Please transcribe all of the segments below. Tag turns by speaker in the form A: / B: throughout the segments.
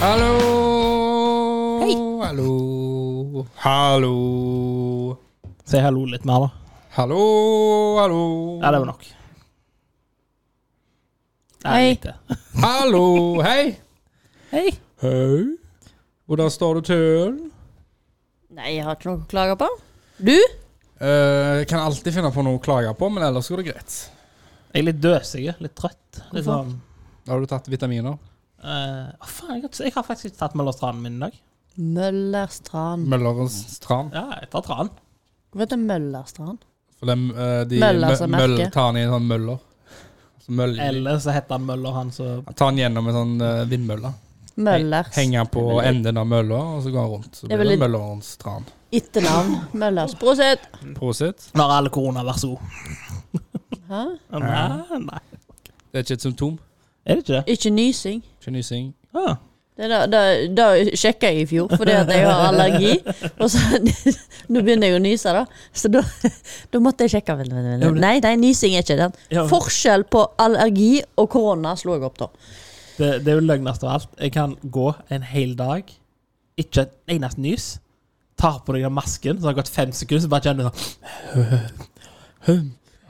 A: Hallo!
B: Hei.
A: Hallo. Hallo.
B: Si hallo litt mer, da.
A: Hallo, hallo.
B: Ja, det var nok. Nei,
C: Hei.
B: lite.
A: Hallo, hei.
C: Hei.
A: Hei. Hvordan står det til?
C: Nei, jeg har ikke noe å klage på. Du?
A: Eh, kan alltid finne på noe å klage på, men ellers går det greit.
B: Jeg er litt døsig, litt trøtt. Litt
C: Hvorfor?
B: sånn
A: Har du tatt vitaminer?
B: eh, å, faen, jeg, har, ikke- jeg har faktisk ikke tatt Møllerstranen min i dag.
C: Møllerstrand.
A: Møllerens tran.
B: Ja, jeg tar tran.
C: Hva heter Møllerstrand?
A: For dem, eh, de
C: Møller
A: mø-
C: som
A: møll-
C: merke.
A: tar han i en sånn møller. Så møll,
B: Eller så heter han Møller, han som
A: tar han gjennom en sånn eh, vindmølle.
C: Møllers.
A: Henger han på enden av mølla, og så går han rundt. Så
C: Det er
A: blir det
C: veldig-
A: møllerens tran.
C: Etternavn. Møllers. Prosit!
A: Prosit.
B: Nå har alle korona, vær så god.
C: Hæ?
B: Nei, nei.
A: Det er ikke et symptom.
B: Er det ikke det?
C: Ikke nysing.
A: Ikke nysing.
B: Ah.
C: Det da, da, da sjekka jeg i fjor, fordi at jeg har allergi. Og så Nå begynner jeg å nyse, da. Så da, da måtte jeg sjekke. Vent, vent, vent, vent. Nei, nei, nysing er ikke den.
B: Ja, men-
C: Forskjell på allergi og korona slo jeg opp, da.
B: Det, det er jo løgnest av alt. Jeg kan gå en hel dag, ikke et eneste nys. Tar på deg den masken, så har det gått fem sekunder, så bare kjenner du sånn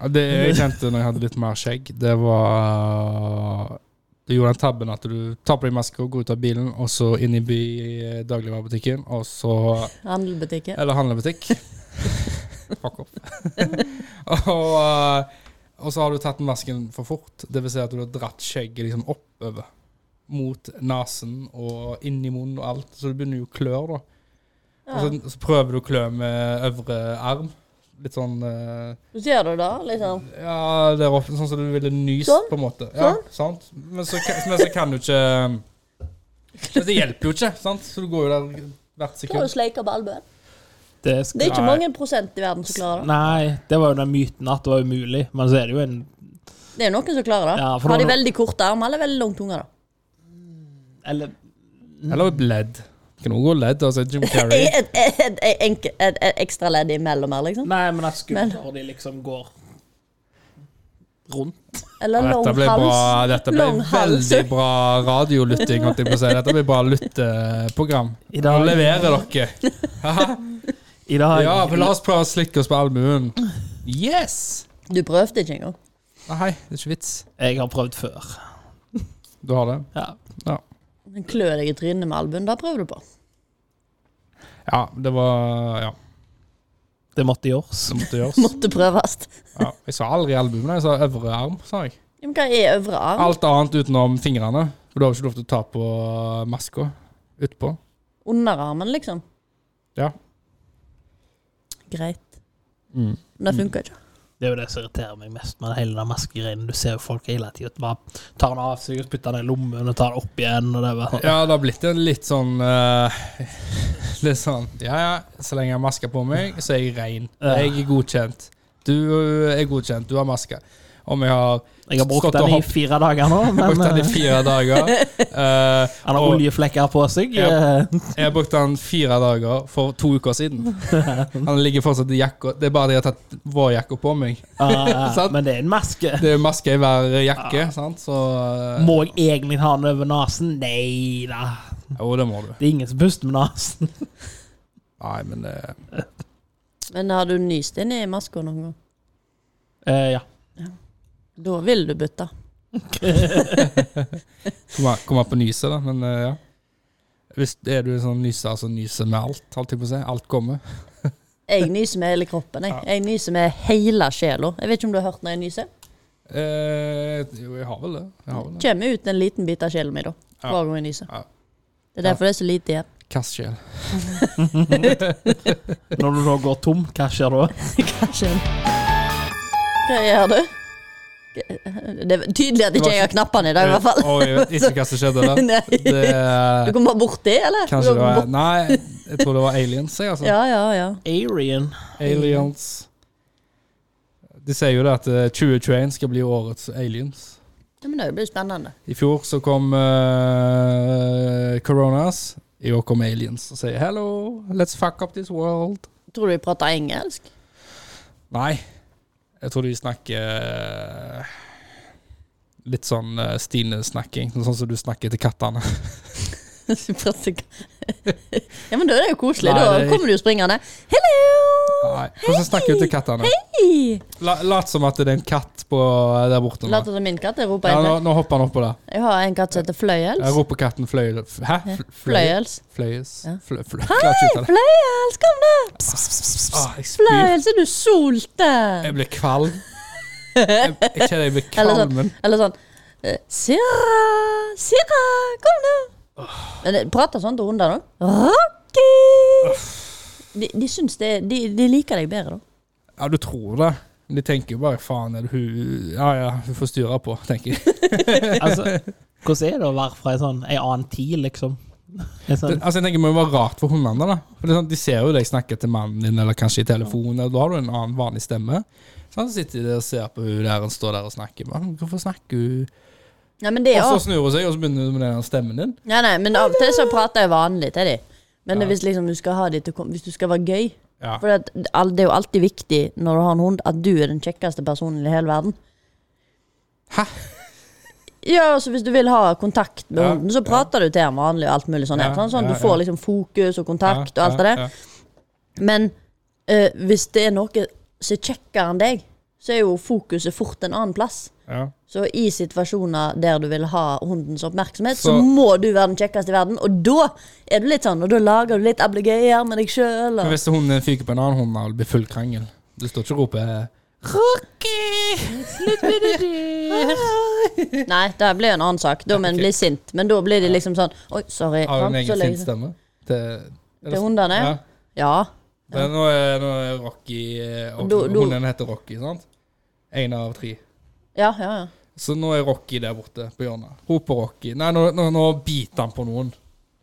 A: Ja, det jeg kjente når jeg hadde litt mer skjegg, det var Du gjorde den tabben at du tar på deg maske og går ut av bilen, og så inn i by i dagligvarebutikken, og så
C: Handelbutikken.
A: Eller handlebutikk. Fuck off. og, eh, og så har du tatt masken for fort. Det vil si at du har dratt skjegget liksom oppover. Mot nesen og inn i munnen og alt. Så du begynner jo å klø, da. Og så, så prøver du å klø med øvre arm. Litt sånn eh,
C: Så ser du da, liksom.
A: Ja, der oppe, sånn som du ville nyst,
C: Sånn?
A: på en måte. Ja, sant? Men, så, kan- men så kan du ikke Men Det hjelper jo ikke, sant? Så du går jo der hvert
C: Klarer
A: sekund.
C: du å sleike på albuen?
B: det skal
C: Det er ikke
A: Nei.
C: mange prosent i verden som klarer det.
B: Nei, det var jo den myten at det var umulig, men så er det jo en
C: Det er jo noen som klarer det.
B: Ja, for
C: Har de
B: da-
C: veldig korte armer eller veldig lang tunge, da?
B: Eller
A: Eller et ledd. Det Kan også gå ledd. Altså Jim Carrey.
C: Et, et, et, et, et, et ekstra ledd imellom her, liksom?
B: Nei, men at skuldra de liksom går rundt.
C: Eller lang
A: Dette ble, bra,
C: hals?
A: dette ble
C: Lang hals.
A: veldig bra radiolytting. holdt jeg på å si. Dette blir bra lytteprogram.
B: I
A: Nå
B: dag,
A: leverer dere.
B: i dag
A: Ja, men la oss prøve å slikke oss på albuen. Yes!
C: Du prøvde ikke engang.
A: Nei, Ah, det er ikke vits.
B: Jeg har prøvd før.
A: Du har det?
B: Ja.
C: Men Klø deg i trynet med albuen, det prøver du på.
A: Ja, det var Ja,
B: Det måtte gjøres.
A: det måtte gjøres.
C: Måtte prøves.
A: Ja, jeg sa aldri albuen, jeg sa øvre arm, sa jeg.
C: Ja, Men hva er øvre arm?
A: Alt annet utenom fingrene. For du har jo ikke lov til å ta på maska utpå.
C: Underarmen, liksom?
A: Ja.
C: Greit.
A: Mm.
C: Men det funka ikke.
B: Det er jo det som irriterer meg mest med hele den maskegreien. Du ser jo folk hele tiden bare tar den av seg og putter den i lommen og tar den opp igjen. Og det er bare
A: Ja, det har blitt en litt sånn eh, Litt sånn Ja, ja, så lenge jeg har maske på meg, så er jeg rein. Jeg er godkjent. Du eh, er godkjent, du har maske. Om jeg har
B: Jeg har brukt
A: Stått og
B: den i
A: hopp-
B: fire dager nå, men
A: brukt den i
B: eh,
A: fire dager eh,
B: han har
A: og
B: oljeflekker på seg.
A: Ja.
B: eh,
A: Jeg har brukt den fire dager for to uker siden. Han ligger fortsatt i jakka. Det er bare det jeg har tatt vår jakka på meg.
B: ah,
A: Sant.
B: men det er en maske.
A: Det er maske i hver jakke, sant, så eh,
B: Må jeg egentlig ha den over nesen? Nei da.
A: Jo, det må du.
B: Det er ingen som puster med nesen.
A: Nei, men eh,
C: Men har du nyst inn i maska noen gang?
B: Eh, ja.
C: Da vil du bytte.
A: Kommer kom an på nyset, da, men eh, ja. Hvis er du en sånn nyser som nyser med alt, holdt jeg på å si. Alt kommer.
C: Jeg nyser med hele kroppen. Jeg, jeg nyser med hele sjela. Jeg vet ikke om du har hørt når jeg nyser?
A: Eh, jo, jeg har vel det. Jeg har vel det.
C: Kommer ut en liten bit av sjelen min da.
A: Mm. Ja.
C: Hver gang jeg nyser.
A: Ja.
C: Det er derfor det er så lite igjen.
A: Kastsjel.
B: Når du da går tom, hva skjer da?
C: Hva gjør du? Det er tydelig at
A: Det var
C: ikke jeg har knappene i dag, i hvert fall.
A: Oi, jeg vet ikke hva som skjedde der.
C: Nei. Du
A: Det,
C: kommer borti, eller? Du
A: kanskje det
C: kommer
A: var
C: bort-
A: Nei, jeg tror det var aliens, jeg, altså.
C: Ja, ja, ja.
B: Arian.
A: Aliens. De sier jo det at eh, 2021 skal bli årets aliens.
C: ja men det blir jo spennende.
A: I fjor så kom eh, coronas. I år kom aliens og sier 'hello, let's fuck up this world'.
C: Tror du vi prater engelsk?
A: Nei. Jeg tror de snakker eh, litt sånn eh, Stine-snakking. Sånn som du snakker til kattene.
C: Pressekonferanse. ja, men da er det jo koselig.
A: Nei,
C: Da
A: det er-
C: kommer du jo springende. Hello!
A: Nei. Hvordan snakker du til kattene?
C: Hei!
A: La- Lat som at det er en katt på, eh, der borte.
C: La
A: Nå.
C: til min katt. Jeg roper
A: Ja, nå,
C: inn.
A: nå hopper han oppå der.
C: Jeg har en katt som heter
A: Jeg
C: Fløyels.
A: roper katten fløyel... f- Hæ? Fl-
C: Fløyels.
A: Fløyes.
C: Ja.
A: Flø, flø. Klarer ikke ut av det.
C: Fløyels, kom da! Pss, pss, pss, pss.
A: Ah, jeg spyr.
C: Fløyels, er du sulten?
A: Jeg blir kvalm. Jeg, jeg kjenner jeg blir
C: Eller
A: kvalm.
C: Eller sånn eh, Sirra, Sirra, kom nå! Men det- Prater sånn til hunder, da? Rocky! De, de syns det de, de liker deg bedre, da.
A: Ja, du tror det. Men De tenker jo bare faen, er det hun Ja ja, hun får styre på, tenker jeg.
B: Altså, hvordan er det å være fra en sånn en annen tid, liksom? En
A: Det,
B: sånn,
A: altså, jeg tenker Det må jo være rart for hundene. da For det er sånn, De ser jo deg snakke til mannen din, eller kanskje i telefonen, eller da har du en annen vanlig stemme. Sånn, så sitter de der og ser på hun der og står der og snakker. Men, hvorfor snakker hun
C: Nei, men det er
A: Og så
C: også,
A: snur hun seg, og så begynner hun med den der stemmen din.
C: nei, nei, men av og til så prater jeg vanlig til dem. Men
A: Ja.
C: hvis, liksom, du skal ha de til, å kom- hvis du skal være gøy
A: Ja.
C: For det, at all- det er jo alltid viktig når du har en hund, at du er den kjekkeste personen i hele verden.
A: Hæ?
C: Ja, altså Hvis du vil ha kontakt med
A: Ja,
C: hunden, så prater du til ham vanlig. og alt mulig sånn,
A: Ja,
C: sånn, sånn
A: ja,
C: Du får
A: ja.
C: liksom fokus og kontakt og alt det
A: ja,
C: der.
A: ja.
C: Men eh, hvis det er noe som er kjekkere enn deg, så er jo fokuset fort en annen plass.
A: Ja.
C: Så i situasjoner der du vil ha hundens oppmerksomhet, så,
A: Så-
C: må du være den kjekkeste i verden. Og da er du litt sånn, og da lager du litt ablegøyer med deg sjøl.
A: Men
C: Og...
A: hvis hunden din fyker på en annen hund, da, det blir full krangel. Du står ikke og roper eh,
C: Nei, det her blir en annen sak. Da må en
A: ok.
C: bli sint. Men da blir de liksom sånn Oi, sorry.
A: Har
C: sant?
A: du en
C: Så
A: egen
C: legger-
A: sint stemme? Til,
C: Til hundene?
A: Ja.
C: Ja.
A: Men Nå, er, nå er Rocky eh, og
C: Du- du-
A: Hunden heter Rocky, sant? Én av tre.
C: Ja, ja, ja.
A: Så nå er Rocky der borte på hjørnet. Roper Rocky. Nei, nå, nå, nå biter han på noen.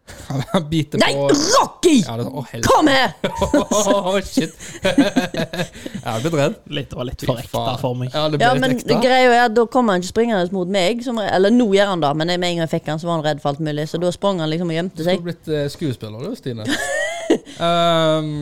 A: Han biter
C: Nei,
A: på
C: Rocky!
A: ja, det, Å, helvete.
C: Kom her!
A: Å, shit. Jeg er blitt redd.
B: litt, det var litt
A: Fy
B: for ekte
A: faen.
B: for meg.
A: Ja, det ble
C: Ja,
A: litt
C: men
A: ekte.
C: greia er at da kommer han ikke springende mot meg. Som, eller nå gjør han det, men med en gang jeg fikk han, så var han redd for alt mulig. Så da sprang han liksom og gjemte
A: Du har
C: seg.
A: blitt eh, skuespiller, du, Stine. Ehm,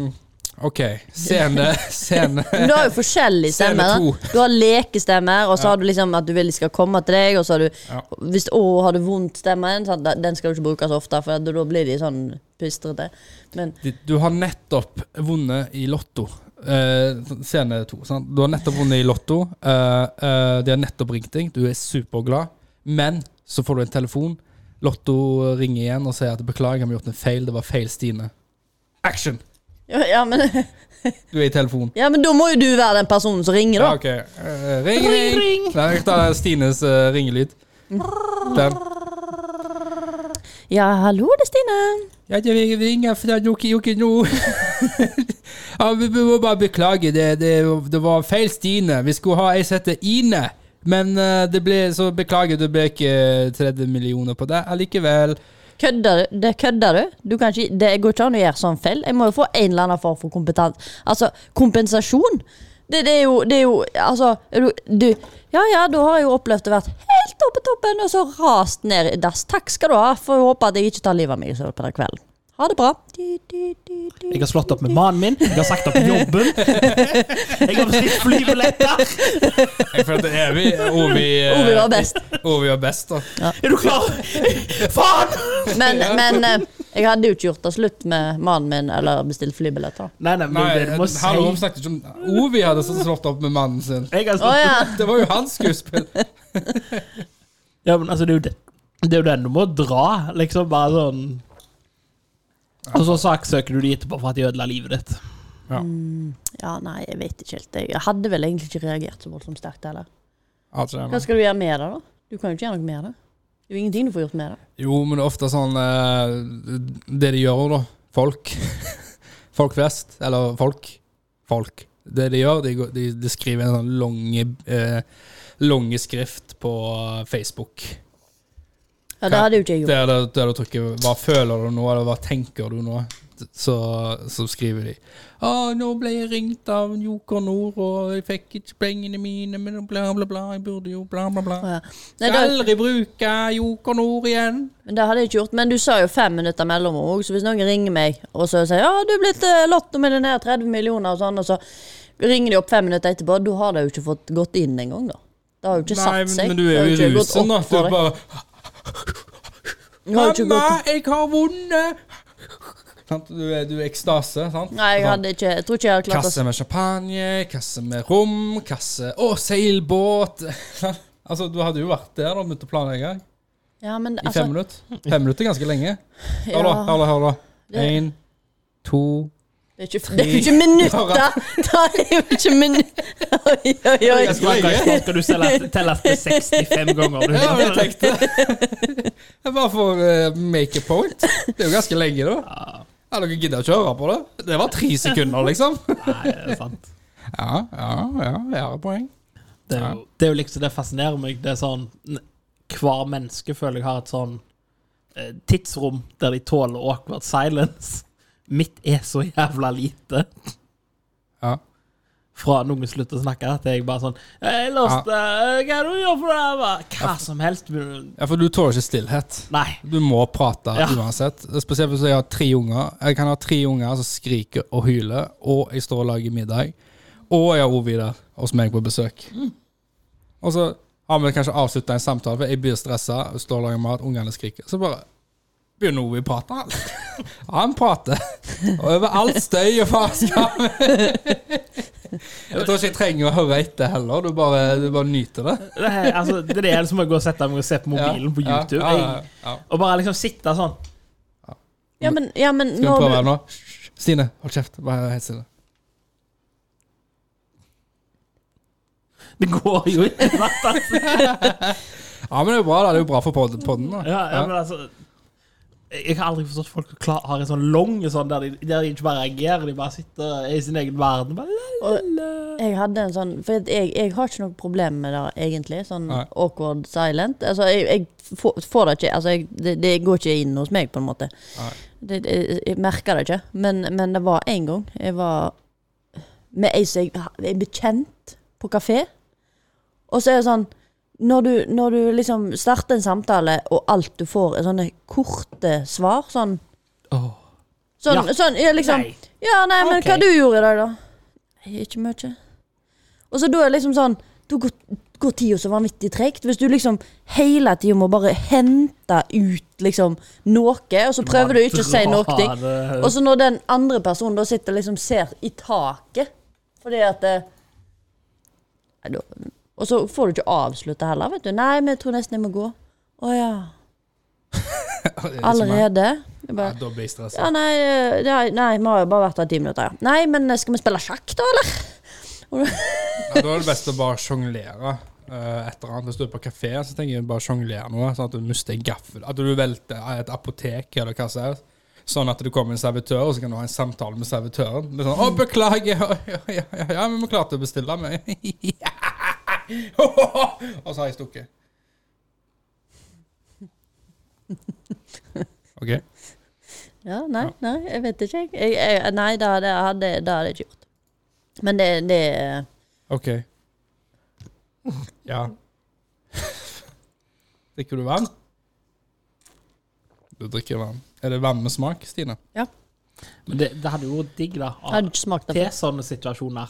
A: OK. Scene Scene
C: Men du har jo forskjellig
A: Scene
C: stemme.
A: to.
C: Da. Du har lekestemmer, og så har du liksom at du vil de skal komme til deg, og så har du
A: Ja.
C: Hvis å, har du vondt stemmen, sant, da- den skal du ikke bruke så ofte, for da da blir de sånn pistrete. Men
A: Du- Du har nettopp vunnet i Lotto. Eh, scene to. Sant? Du har nettopp vunnet i Lotto. Eh, eh, de har nettopp ringt deg. Du er superglad. Men så får du en telefon. Lotto ringer igjen og sier at 'beklager, vi har gjort en feil'. Det var feil Stine. Action!
C: ja, ja, men,
A: Du er i telefonen.
C: ja, men da må jo du være den personen som ringer,
A: Ja,
C: da.
A: ok. Eh, ring, ring! Nei, jeg tar Stines eh, ringelyd. Den.
C: Ja, hallo, det er Stine.
A: Ja, det vil ringe fra Joki Joki nå. ja, vi må bare beklage, det, det, det var feil Stine. Vi skulle ha ei som heter Ine, men eh, det ble, så beklager, det ble ikke 30 millioner på det allikevel.
C: Kødder du? Det kødder du? du kan ikke, det går ikke an å gjøre sånn feil. Jeg må jo få en eller annen form for kompetanse. Altså, kompensasjon. Det, det er jo, det er jo Altså, er du, du Ja ja, da har jeg jo opplevd å vært helt oppe på toppen, og så rast ned i dass. Takk skal du ha. Får håpe at jeg ikke tar livet av meg i løpet av kvelden. Ha det bra. Du, du, du, du.
B: Jeg har slått opp med mannen min, jeg har sagt opp jobben. Jeg har bestilt flybilletter!
A: Jeg føler at det er vi. Ovi, eh,
C: Ovi var best.
A: Ovi var best, da.
B: Er du klar? Faen!
C: Men, men eh, jeg hadde jo ikke gjort det slutt med mannen min eller bestilt flybilletter.
B: Nei, nei, men
A: Nei,
B: det du må si
A: hallo, vi snakket ikke om Ovi hadde slått opp med mannen sin.
B: jeg
C: Å
B: har slått,
C: ja.
A: Det var jo hans skuespill.
B: ja, men altså, det er jo det. Det er jo den du må dra, liksom. Bare sånn Og så saksøker du de etterpå for at de ødela livet ditt.
C: ja. Nei, jeg vet ikke helt. Jeg hadde vel egentlig ikke reagert så voldsomt sterkt heller.
A: Altså,
C: Hva skal du gjøre med det, da? Du kan jo ikke gjøre noe med det. Det er jo ingenting du får gjort med det.
A: Jo, men det er ofte sånn eh, Det de gjør, da. Folk. folk flest. Eller folk. Folk. Det de gjør, de, går- de, de skriver en sånn lange, eh, lange skrift på Facebook.
C: Ja, Det hadde jo ikke jeg gjort.
A: Der, det- der du trykker 'Hva føler du nå?' eller 'Hva tenker du nå?' Så, så skriver de 'Å, nå ble jeg ringt av Joker Nord, og jeg fikk ikke pengene mine, men bla, bla, bla. Jeg burde jo bla, bla, bla.
C: Å, ja. Nei,
A: Skal
C: det,
A: aldri bruke Joker Nord igjen.
C: men det hadde jeg ikke gjort. Men du sa jo fem minutter mellom òg, så hvis noen ringer meg og så sier ja, du er blitt eh, lottomillionær, 30 millioner og sånn, og så ringer de opp fem minutter etterpå, da har det jo ikke fått gått inn engang, da. Det har jo ikke
A: Nei,
C: satt
A: men-
C: seg.
A: men du
C: Det
A: er
C: har
A: jo i
C: ikke gått
A: rusen,
C: opp
A: da.
C: for
A: Du
C: deg.
A: bare
C: Jeg har ikke
A: Mamma,
C: gått-
A: jeg har vunnet! Sant? Du, er, du er i ekstase, sant?
C: Nei, jeg,
A: Sånn.
C: hadde ikke, jeg tror ikke jeg hadde klart å
A: Kasse med champagne, kasse med rom, kasse Å, seilbåt! altså, du hadde jo vært der da, og begynt å planlegge i
C: Ja, men
A: fem
C: altså
A: minutter. Fem minutter er ganske lenge. Hør, da.
C: ja,
A: Hør, da. hør da.
C: Det-
A: Én, to
C: Det er ikke, det er jo ikke minutter! Det er jo ikke minutter Oi, oi, oi.
A: Jeg skal ikke-
B: Nå skal du telle- telles til 65 ganger. Du.
A: Ja, jeg tenkte Det er bare for eh, make a point. Det er jo ganske lenge, da.
B: Ja,
A: Ja, dere gidder ikke å høre på det? Det var tre sekunder, liksom.
B: nei, det er sant.
A: Ja, ja, ja. Jeg har et poeng.
B: Det er, jo, det er jo liksom Det fascinerer meg. Det er sånn n- Hver menneske føler jeg har et sånn eh, tidsrom der de tåler awkward silence. Mitt er så jævla lite.
A: Ja.
B: Fra noen slutter å snakke, til jeg bare sånn hey, lost, eh, Hva er det du gjør forever? Hva som helst. men-
A: ja, for du tåler ikke stillhet.
B: Nei.
A: Du må prate
B: Ja.
A: uansett. Spesielt hvis jeg har tre unger. Jeg kan ha tre unger som skriker og hyler, og jeg står og lager middag. Og jeg har Ovi der hos meg på besøk. Og så har vi kanskje avslutta en samtale, for jeg blir stressa, står og lager mat, ungene skriker. Så bare begynner Ovi å prate. Han prater. Og over alt støy og faenskap. Jeg tror ikke jeg trenger å høre etter heller. Du bare, du bare nyter det.
B: Det er, altså, det er som å gå og sette meg og se på mobilen på
A: Ja,
B: YouTube.
A: ja, ja,
B: Jeg,
A: ja.
B: og bare liksom sitte sånn.
C: Ja, men, ja, men
A: Skal vi
C: når
A: prøve her
C: du
A: nå? Hysj, Stine, hold kjeft. Bare helt stille.
B: Det går jo ikke. sant?
A: Ja, men det er jo bra, da. Det er jo bra for podden. podden da.
B: Ja, ja, men altså Jeg jeg har aldri forstått folk som klar, har en sånn lang sånn der de, der de ikke bare reagerer, de bare sitter i sin egen verden. Bare, la, la, la.
C: Jeg hadde en sånn For jeg, jeg har ikke noe problem med det, egentlig. Sånn
A: Nei.
C: awkward silent. Altså, jeg, jeg får, får det ikke altså, jeg, det, det går ikke inn hos meg, på en måte.
A: Nei.
C: Det, det, jeg merker det ikke. Men, men det var én gang jeg var med ei som jeg, jeg ble kjent på kafé. Og så er det sånn når du, når du liksom starter en samtale, og alt du får, er sånne korte svar sånn,
B: Åh.
C: sånn,
B: Ja.
C: sånn ja, liksom,
B: Nei.
C: ja, nei, men
B: Ok.
C: hva du gjorde i dag, da? Nei, ikke mye. Og så da er det liksom sånn Da går, går tida så vanvittig tregt. Hvis du liksom hele tida må bare hente ut liksom noe, og så prøver du ikke å si noe. ting.
B: Det-
C: Og så når den andre personen da sitter og liksom ser i taket fordi at eh, nei, da- Og så får du ikke avslutta heller, vet du. Nei, men jeg tror nesten jeg må gå. Å ja. Allerede? Jeg
A: Ja,
C: bare,
A: da blir jeg stressa.
C: ja, nei, eh, nei, nei, vi har jo bare vært her i ti minutter. ja. Nei, men eh, skal vi spille sjakk, da, eller?
A: Ja, da er det best å bare sjonglere eh, et eller annet. Hvis du er på kafé, så tenker jeg bare sjonglere noe, sånn at du mister en gaffel. At du velter et apotek eller hva som helst. Sånn at det kommer en servitør, og så kan du ha en samtale med servitøren. Med sånn, 'Å, beklager. Ja, ja, ja, ja, ja, men vi klarte å bestille.' Men. og så har jeg stukket. OK.
C: Ja, nei, nei, jeg vet ikke, jeg. jeg, jeg nei, det hadde jeg hadde- det hadde jeg ikke gjort. Men det, det
A: OK. Ja. drikker du vann? Du drikker vann. Er det vann med smak, Stine?
B: Men det, det hadde jo vært digg, da. av-
C: hadde ikke smakt det.
B: Til sånne situasjoner.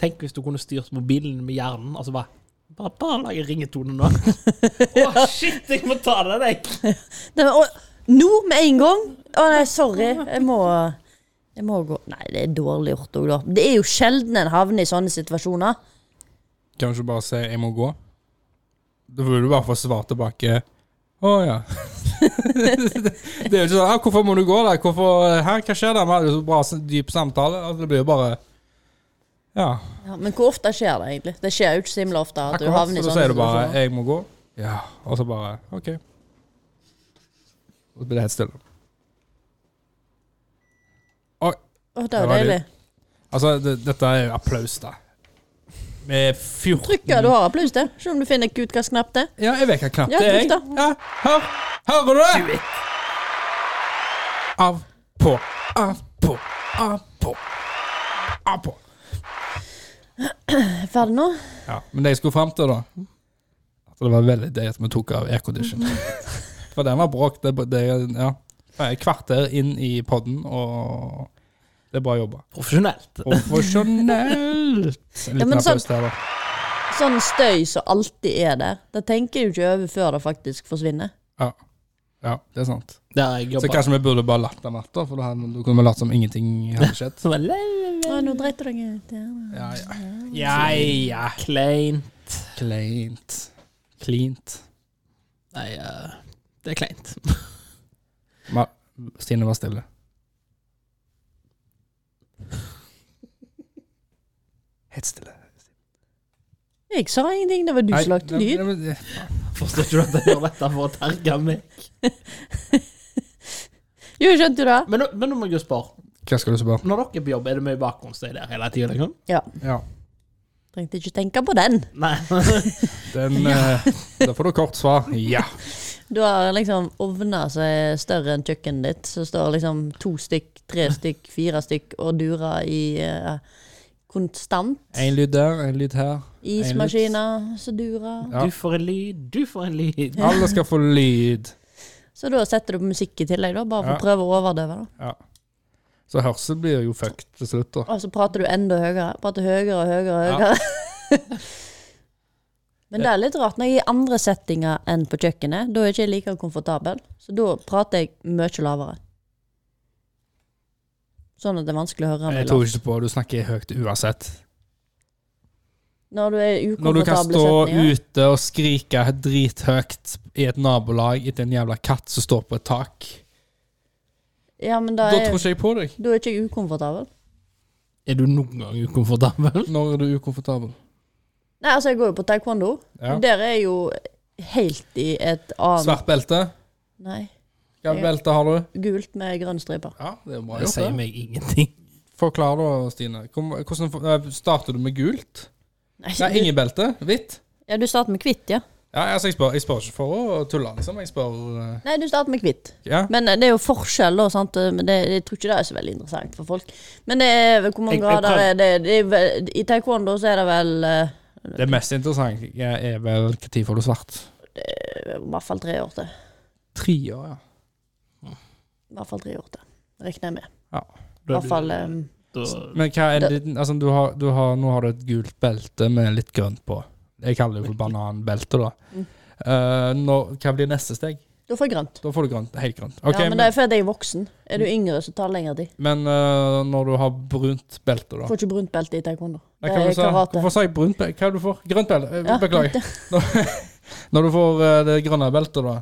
B: Tenk hvis du kunne styrt mobilen med hjernen, og så bare bare, bare lage ringetone nå. Å, shit, jeg må ta det, jeg!
C: Det var- å, Nå med en gang! Å nei, sorry. Jeg må Jeg må gå Nei, det er dårlig gjort òg, da. Det er jo sjelden en havner i sånne situasjoner.
A: Kan du ikke bare si 'jeg må gå'? Da burde du bare få svar tilbake 'å ja'. det er jo ikke sånn «Ja, 'hvorfor må du gå der', Hvorfor, eh, her, 'hva skjer der', vi hadde jo så bra s- dyp samtale. Altså, det blir jo bare Ja.
C: Ja, men hvor ofte skjer det egentlig? Det skjer jo ikke så himla ofte at du eh,
A: Akkurat.
C: havner
A: Så
C: i
A: da
C: sånne
A: sier du bare
C: situasjoner.
A: 'jeg må gå', ja, og så bare 'ok'. Og så blir det helt stille. Oi.
C: Å, det er jo
A: Det var
C: deilig.
A: Altså, det, dette er jo applaus, da. Med 14
C: Trykker du har applaus til. Se om du finner kutkastknapp til.
A: Ja, jeg vet hva knapp
C: Ja,
A: det er.
C: trykk da.
A: jeg. Ja, hør, hører du det? Av, på, av, på, av, på. Av, på.
C: Er jeg ferdig nå?
A: Ja, men det jeg skulle fram til, da At det var veldig deilig at vi tok av aircondition. For den var bråk. Det, det, ja. Jeg er et kvarter inn i podden, og det er bra jobba.
B: Profesjonelt.
A: Profesjonelt! En
C: Ja,
A: liten
C: men sånn-
A: applaus der, da.
C: Sånn støy som alltid er der. Det tenker jeg jo ikke over før det faktisk forsvinner.
A: Ja. Ja, det er sant.
B: Der jeg
A: Så
B: jobber.
A: kanskje vi burde bare latt den vært, da, for da hadde- da kunne vi latt som ingenting hadde skjedd.
B: Så bare, le-
C: Å, nå dreit du deg ut. Ja.
A: Ja, ja.
B: Ja, ja. Klein.
A: Kleint. Cleant.
B: Nei, eh, det er kleint.
A: Ma Stine var stille. Helt stille.
C: Jeg sa ingenting. Det var du som lagde lyd.
A: lyd.
B: Forstår ikke du at jeg gjør dette for å terge meg?
C: Jo, skjønte du det?
B: Men, nå- men nå må jeg jo spørre.
A: Hva skal du spørre?
B: Når dere er på jobb, er det mye bakgrunnsstøy der hele tida? Liksom?
C: Ja.
A: Ja.
C: Trengte ikke tenke på den.
B: Nei.
A: Den, eh, da får du kort svar. Ja.
C: Du har liksom ovner som er større enn kjøkkenet ditt, som står liksom to stykk, tre stykk, fire stykk og durer i eh, konstant.
A: Én lyd der, én lyd her.
C: Ismaskiner som durer.
A: Ja.
B: Du får en lyd, du får en lyd.
A: Alle skal få lyd.
C: Så da setter du på musikk i tillegg, da, bare for
A: Ja.
C: å prøve å overdøve. da.
A: Ja. Så hørsel blir jo fucked til slutt, da.
C: Og så prater du enda høyere. Prater høyere og høyere og
A: Ja.
C: høyere. Men det er litt rart når jeg er i andre settinger enn på kjøkkenet. Da er jeg ikke like komfortabel. Så da prater jeg mye lavere. Sånn at det er vanskelig å høre
A: Jeg
C: meg
A: tror
C: lavt.
A: ikke på Du snakker høyt uansett.
C: Når du er i
A: Når du kan
C: ukomfortable
A: stå
C: setninger.
A: ute og skrike drithøyt i et nabolag etter en jævla katt som står på et tak,
C: Ja, men da
A: da
C: er,
A: tror ikke jeg på deg.
C: da er ikke jeg ukomfortabel.
B: Er du noen gang ukomfortabel?
A: Når er du ukomfortabel?
C: Nei, altså, jeg går jo på taekwondo.
A: Ja.
C: Og Der er jeg jo helt i et annet
A: Svart belte?
C: Nei,
A: Hvilket belte har du?
C: gult med grønn stripe.
A: Ja, det er bra
B: Det sier
A: gjort. det.
B: meg ingenting.
A: Forklar da, Stine. Kom- Hvordan eh, starter du med gult? Nei,
C: du,
A: ingen belte. Hvitt?
C: ja, du starter med hvitt, ja.
A: Ja, altså, jeg spør, jeg spør ikke for å tulle, liksom. Jeg spør eh,
C: Nei, du starter med hvitt.
A: Ja.
C: Men eh, det er jo forskjell, da. Sant? Eh, Men det, jeg tror ikke det er så veldig interessant for folk. Men det er vel hvor mange
B: Jeg- jeg
C: grader
B: prøv-
C: er det, det er vel, I taekwondo så er det vel eh,
A: Det mest interessante er vel når får du svart?
C: i hvert fall tre år til.
A: Tre år, ja.
C: I hvert fall tre år til, regner jeg med. I
B: Da er
C: hvert fall eh,
B: du- da-
A: Men hva er
C: Det-
A: din, altså, du har, du har, nå har du et gult belte med litt grønt på. Jeg kaller det jo for bananbelte, da.
C: Mm.
A: Eh, når, hva blir neste steg?
C: Da får jeg grønt.
A: Da får du grønt. Helt grønt. Ok,
C: ja, men,
A: men
C: det er fordi jeg er voksen. Er du yngre, så tar det lengre tid.
A: men eh, når du har brunt belte, da?
C: Får ikke brunt belte i taekwondo.
A: Nei,
C: Det
A: hva
C: er
A: du sa?
C: karate.
A: Hvorfor sa jeg brunt belte? Hva er det du får? Grønt belte? Eh,
C: Ja,
A: Beklager.
C: grønt,
A: Når du får eh, det grønne beltet, da,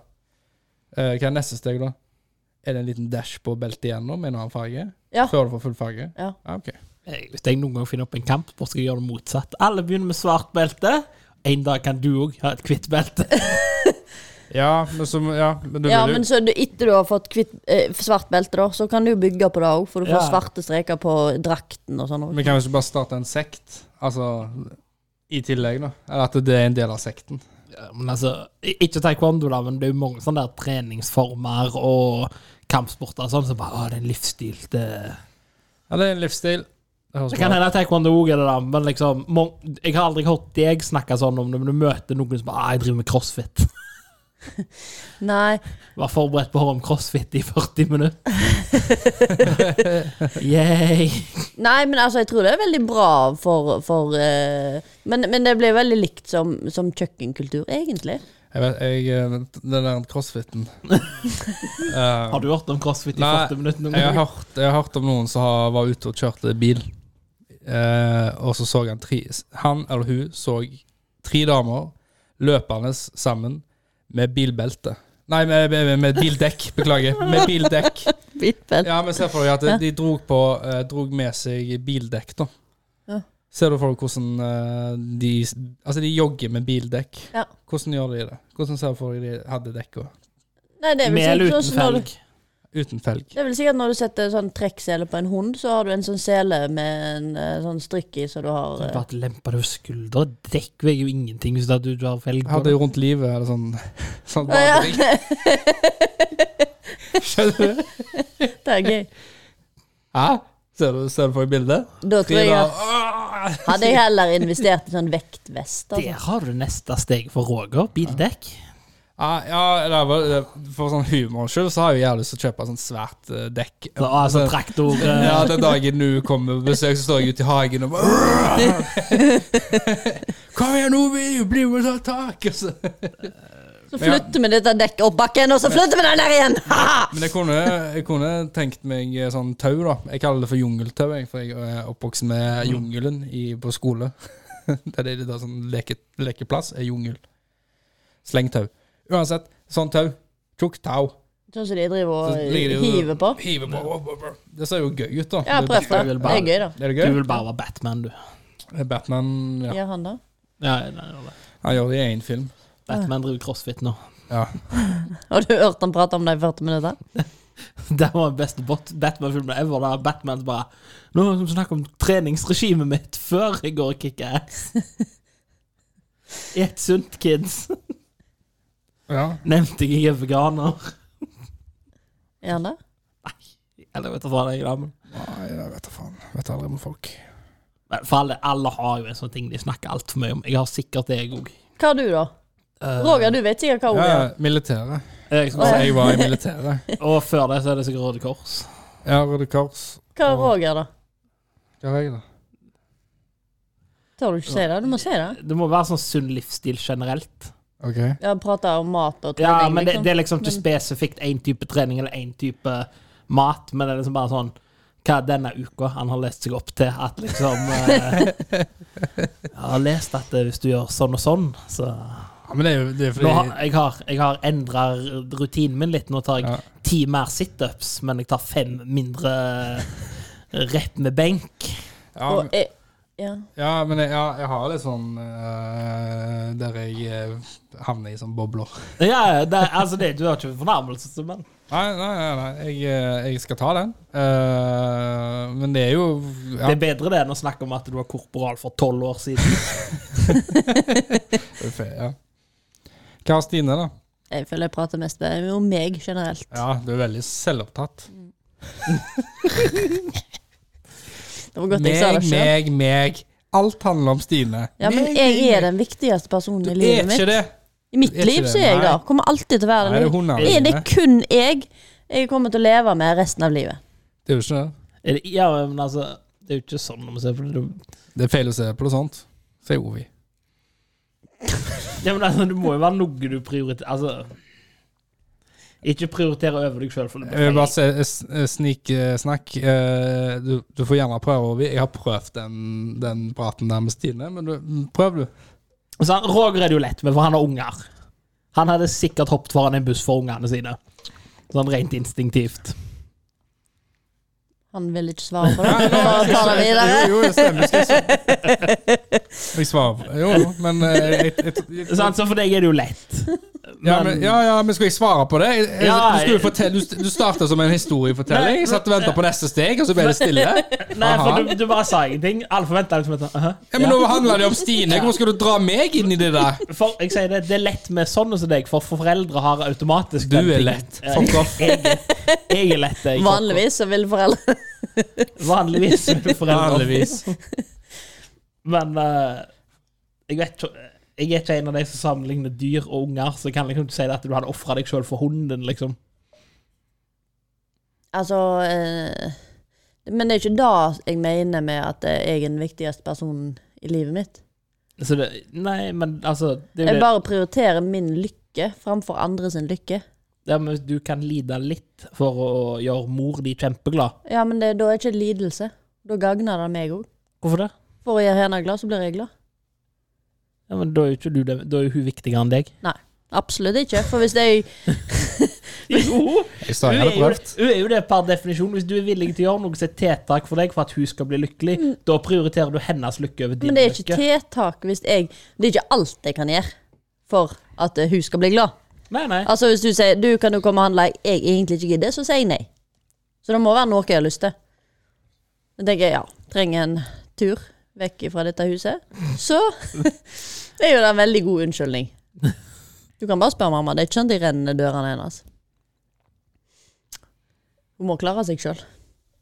A: eh, hva er neste steg da? Er det en liten dash på beltet igjennom med en annen farge?
C: Ja.
A: Før du får full farge?
C: Ja.
A: ok.
B: Jeg- Hvis jeg noen gang finner opp en kampsport, skal jeg gjøre det motsatt. Alle begynner med svart belte. En dag kan du òg ha et hvitt belte.
A: Ja, men, som, ja, men du
C: Ja,
A: vil jo
C: men så du, etter du har fått kvitt, eh, svart belte, da, så kan du bygge på det òg, for du får
B: Ja.
C: svarte streker på drakten og sånn òg.
A: Men kan vi ikke bare starte en sekt? Altså i tillegg, da? Eller at det er en del av sekten?
B: Ja, Men altså, i- ikke taekwondo, da, men det er jo mange sånne der treningsformer og kampsporter og sånn som bare Å, det er en livsstil. Det
A: Ja, det er en livsstil. Det høres
B: Det kan
A: bra ut.
B: hende at taekwondo også er det, da, men liksom mon- Jeg har aldri hørt deg snakke sånn om det, men du møter noen som bare «Ah, 'Jeg driver med crossfit'.
C: Nei,
B: Var forberedt på å høre om crossfit i 40 minutter. Yay.
C: Nei, men altså, jeg tror det er veldig bra for, for eh, men, men det blir veldig likt som, som kjøkkenkultur, egentlig.
A: Jeg vet, jeg, eh, den der crossfiten Eh,
B: Har du hørt om crossfit i
A: Nei,
B: 40 minutter noen
A: jeg, har
B: gang?
A: hørt, jeg har hørt om noen som har, var ute og kjørte bil, eh, og så så han tre Han eller hun så tre damer løpende sammen med bilbelte. Nei, med, med, med- med bildekk. Beklager. Med bildekk.
C: Hvitbelt.
A: Ja, men se for deg at de dro, på, eh, drog med seg bildekk, da.
C: Ja.
A: Ser du for deg hvordan eh, de Altså, de jogger med bildekk.
C: Ja.
A: Hvordan gjør de det? Hvordan ser du for deg de hadde dekka?
C: Nei, det er vel
B: Mel
C: sikkert
B: uten
C: sånn når du,
B: felg.
A: Uten felg.
C: det er vel sikkert når du setter sånn trekksele på en hund, så har du en sånn sele med en eh, sånn strikk i, så du har eh,
B: Bare lemper deg over skuldra. Dekk veier jo ingenting hvis du, du har
A: Jeg
B: felg på.
A: hadde
B: det.
A: jo rundt livet eller sånn, sånn
C: Ja,
A: vandring.
C: ja.
A: Skjønner du?
C: Det er gøy.
A: Hæ? Ser du, ser du for deg bildet?
C: Da tror jeg at
A: Frida, åh!
C: hadde jeg heller investert i sånn vektvest. Altså.
B: Der har du neste steg for Roger. Bildekk.
A: Ja, ja det var, det- for sånn humorens skyld så har jeg jævlig lyst til å kjøpe sånn svært eh, dekk.
B: Så, altså, traktor eh,
A: Ja, den dagen du kommer på besøk, så står jeg ute i hagen og bare Kom igjen, Ovi! Bli med og ta tak! Og så-
C: Så flytter vi dette dekket opp bakken, og så flytter vi den der igjen! Haha!
A: Men jeg kunne, jeg kunne tenkt meg eh, sånn tau, da. Jeg kaller det for jungeltau, jeg, for jeg eh, er oppvokst med jungelen i, på skole. det er det der sånn leke, lekeplass er jungel. Slengtau. Uansett, sånn tau. Tjukt tau.
C: Sånn som de
A: Så
C: driver
A: ligger det
C: og
A: jo-
C: hiver på.
A: Hiver på. Det ser jo gøy ut, da.
C: Ja, prøv det.
B: vil
C: Det
B: bare-
C: er gøy, da.
A: Er det
B: Du
A: gøy?
B: vil bare være Batman, du.
A: Batman ja.
C: Gjør han det?
B: Ja, nei, det var det.
A: Han gjør det i én film.
B: Batman driver crossfit nå.
A: Ja.
C: Har du hørt han prate om det i 40 minutter?
B: Det var den beste bot- Batman-filmen ever. Da Batman bare Nå må vi snakke om treningsregimet mitt før jeg går og kicker ass. Et sunt, kids.
A: ja.
B: Nevnte jeg jeg er veganer.
C: Gjør han det?
B: Eller vet du hva det er, da, men
A: Nei, jeg vet da faen. Vet aldri om folk.
B: Nei, For alle, alle har jo en sånn ting de snakker altfor mye om. Jeg har sikkert det, jeg òg.
C: Hva har du, da? Roger, du vet sikkert hva
A: Ja,
C: ordet
A: ja,
C: er.
A: militæret.
B: Eh, Jeg
A: Så
B: skal bare si-
A: jeg var i militæret.
B: Og før det så er det sikkert Røde Kors.
A: Ja, Røde Kors.
C: Hva er Roger, da?
A: Hva er jeg, da?
C: Tør du ikke si det? Du må si det.
B: Det må være sånn sunn livsstil generelt.
A: Ok.
C: Ja, prate om mat og trening,
B: Ja, men det,
C: liksom.
B: det er liksom ikke
C: Men-
B: spesifikt én type trening eller én type mat, men det er liksom bare sånn hva denne uka han har lest seg opp til at liksom eh, Jeg har lest at eh, hvis du gjør sånn og sånn, så
A: Ja, men det er jo det er
B: Nå
A: fordi
B: har, jeg har, jeg har endra rutinen min litt. Nå tar jeg
A: Ja.
B: ti mer situps, men jeg tar fem mindre rep med benk.
A: Ja,
C: Og
A: men,
C: jeg, ja.
A: ja, men jeg, ja, jeg har litt sånn eh, Der jeg eh, havner i sånn bobler.
B: Ja, det, er- altså det, du har ikke fornærmelse, men
A: Nei, nei, nei. nei. Jeg, eh, jeg skal ta den. Eh, men det er jo ja,
B: det er bedre det enn å snakke om at du var korporal for tolv år siden.
A: uff, ja. Hva har Stine, da?
C: jeg føler jeg prater mest med- om meg generelt.
A: Ja, du er veldig selvopptatt.
C: Det var godt jeg sa
A: Meg,
C: det selv.
A: meg, meg. Alt handler om Stine.
C: Ja, men
A: Meg,
C: jeg er
A: meg, meg.
C: den viktigste personen i
A: Du
C: livet
A: er
C: mitt.
A: ikke det.
C: I mitt
A: er ikke
C: liv
A: det,
C: så er jeg
A: nei.
C: det. Kommer alltid til å være
A: Nei, det er
C: det.
A: hun
C: Er det
A: Arne.
C: kun jeg jeg kommer til å leve med resten av livet?
A: Det er jo ikke det.
B: Er det- Ja, men altså Det er jo ikke sånn når vi ser på det. Du-
A: Det er feil å se på det sånt, sier Ovi.
B: Ja, men altså, det må jo være noe du prioriterer Altså Ikke prioritere over deg sjøl, for det
A: Jeg vil
B: blir
A: bare
B: feil.
A: se eh, s- sniksnakk. Eh, Du, du får gjerne prøve, Ovi. Jeg har prøvd den, den praten der med Stine, men du, mm, prøv, du.
B: Så han- Roger er det jo lett med, for han har unger. Han hadde sikkert hoppet foran en buss for ungene sine. Sånn rent instinktivt.
C: Han vil ikke svare på det.
A: Nei,
C: Bare ta det videre.
A: Jo, jo, det stemmer. det stemmer. Jeg svarer Jo, jo, men eh, jeg, jeg, jeg,
B: Så han- så for deg er det jo lett.
A: ja, men, ja, ja, men skal jeg svare på det? Jeg, jeg,
B: Ja,
A: du, skulle jo
B: jeg-
A: fortelle, du, du starta som en
B: Nei,
A: historiefortelling. Jeg satt og
B: men-
A: venta på neste steg, og så ble det stille.
B: Nei,
A: Aha.
B: for du, du bare sa ingenting. Alle forventa liksom at «Hæ?»
A: Ja, men nå handler det om Stine. Hvorfor skal du dra meg inn i det der?
B: For jeg sier det, det er lett med sånne som deg, for for foreldre har automatisk
A: Du
B: den
A: er
B: tingen.
A: lett. Fuck off.
B: Jeg, jeg, jeg er lett, jeg.
C: Vanligvis så vil foreldre
B: Vanligvis er du foreldre.
A: Vanligvis.
B: Men eh, jeg vet ikke Jeg er ikke en av de som sammenligner dyr og unger, så jeg kan liksom ikke si det at du hadde ofra deg sjøl for hunden, liksom.
C: Altså eh, Men det er ikke det jeg mener med at eh, jeg er den viktigste personen i livet mitt.
B: Så det, nei, men altså det, er
C: Jeg
B: jo det,
C: bare prioriterer min lykke framfor andre sin lykke.
B: det med at Du kan lide litt for å gjøre mor di kjempeglad.
C: Ja, men det, da er ikke lidelse. Da gagner det meg òg.
B: Hvorfor det?
C: For å gjøre henne glad, så blir jeg glad.
B: Ja, men Da er jo ikke du det, da er jo hun viktigere enn deg.
C: Absolutt ikke. For hvis jeg
B: Jo!
A: Jeg sa jeg
B: Hun er,
A: hadde
B: jo,
A: prøvd.
B: hun er jo det per definisjon. Hvis du er villig til å gjøre noe som er tiltak for deg for at hun skal bli lykkelig, da prioriterer du hennes lykke over din
C: Mm. Men det er ikke
B: lykke.
C: tiltak hvis jeg Det er ikke alt jeg kan gjøre for at eh, hun skal bli glad.
B: Nei, nei.
C: Altså Hvis du sier du kan jo komme og handle jeg egentlig ikke gidder, så sier jeg nei. Så det må være noe jeg har lyst til. Da tenker jeg ja, trenger en tur vekk fra dette huset. Så det er jo da en veldig god unnskyldning. Du kan bare spørre mamma. Det er ikke sånn at de renner dørene hennes. Hun må klare seg sjøl.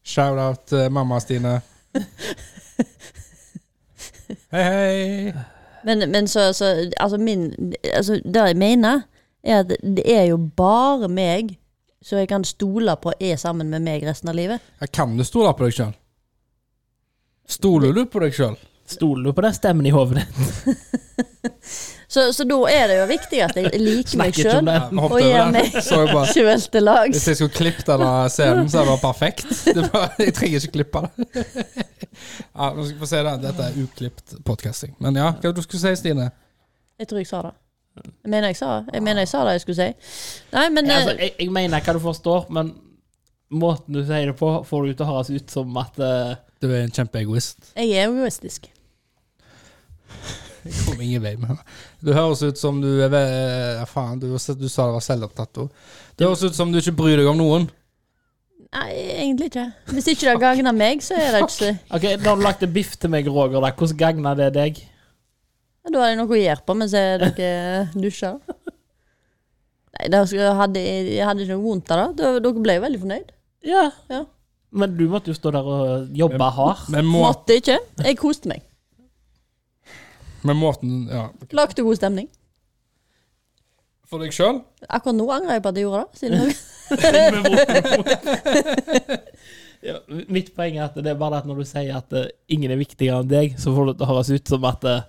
A: Shout-out eh, mamma Stine. Hei, hei.
C: Men, men så, så Altså, min altså, Det jeg mener, er at det er jo bare meg som jeg kan stole på er sammen med meg resten av livet.
A: Ja, Kan du stole på deg sjøl? Stoler du på deg sjøl?
B: Stoler du på den stemmen i hodet ditt?
C: Så, så da er det jo viktig at jeg liker meg
B: Snakker ikke om
C: sjøl.
B: det.
A: Ja, vi hoppet
C: Og
A: over
C: gjør
A: den.
C: meg
A: Så jeg bare,
C: sjøl til
A: hvis
C: lags.
A: jeg skulle klippet denne scenen, så hadde det vært perfekt. Det er bare, jeg trenger ikke klippe det. Ja, nå skal vi få se det. Dette er uklipt podcasting. Men ja, hva var det du skulle si, Stine?
C: Jeg tror jeg sa det. Jeg mener jeg sa det. Jeg mener jeg sa det jeg skulle si. Nei, men
B: Altså,
C: eh,
B: jeg, jeg mener hva du forstår, men måten du sier det på, får det ut til å høres ut som at eh,
A: Du er en kjempeegoist.
C: jeg er egoistisk.
A: Jeg kom ingen vei med det. Du høres ut som du er ve- ja, Faen, du, du sa det var selvopptatt òg. Det høres ut som du ikke bryr deg om noen.
C: Nei, egentlig ikke. Hvis ikke det gagner meg, så er det ikke så
B: OK, nå har du lagt en biff til meg, Roger. Da. Hvordan gagna det deg?
C: Ja, Da har jeg noe å gjøre på mens jeg- dere dusjer. Nei, det skulle- hadde, jeg hadde ikke noe vondt av det. Da- Dere ble jo veldig fornøyd.
B: Ja.
C: Ja.
B: Men du måtte jo stå der og jobbe hardt.
A: Men, må,
C: Måtte ikke. Jeg koste meg.
A: men måten Ja.
C: Lagde god stemning.
A: For deg sjøl?
C: Akkurat nå angrer jeg på at jeg gjorde det. Siden
B: ja, mitt poeng er at det er bare det at når du sier at eh, ingen er viktigere enn deg, så får det til å høres ut som at eh,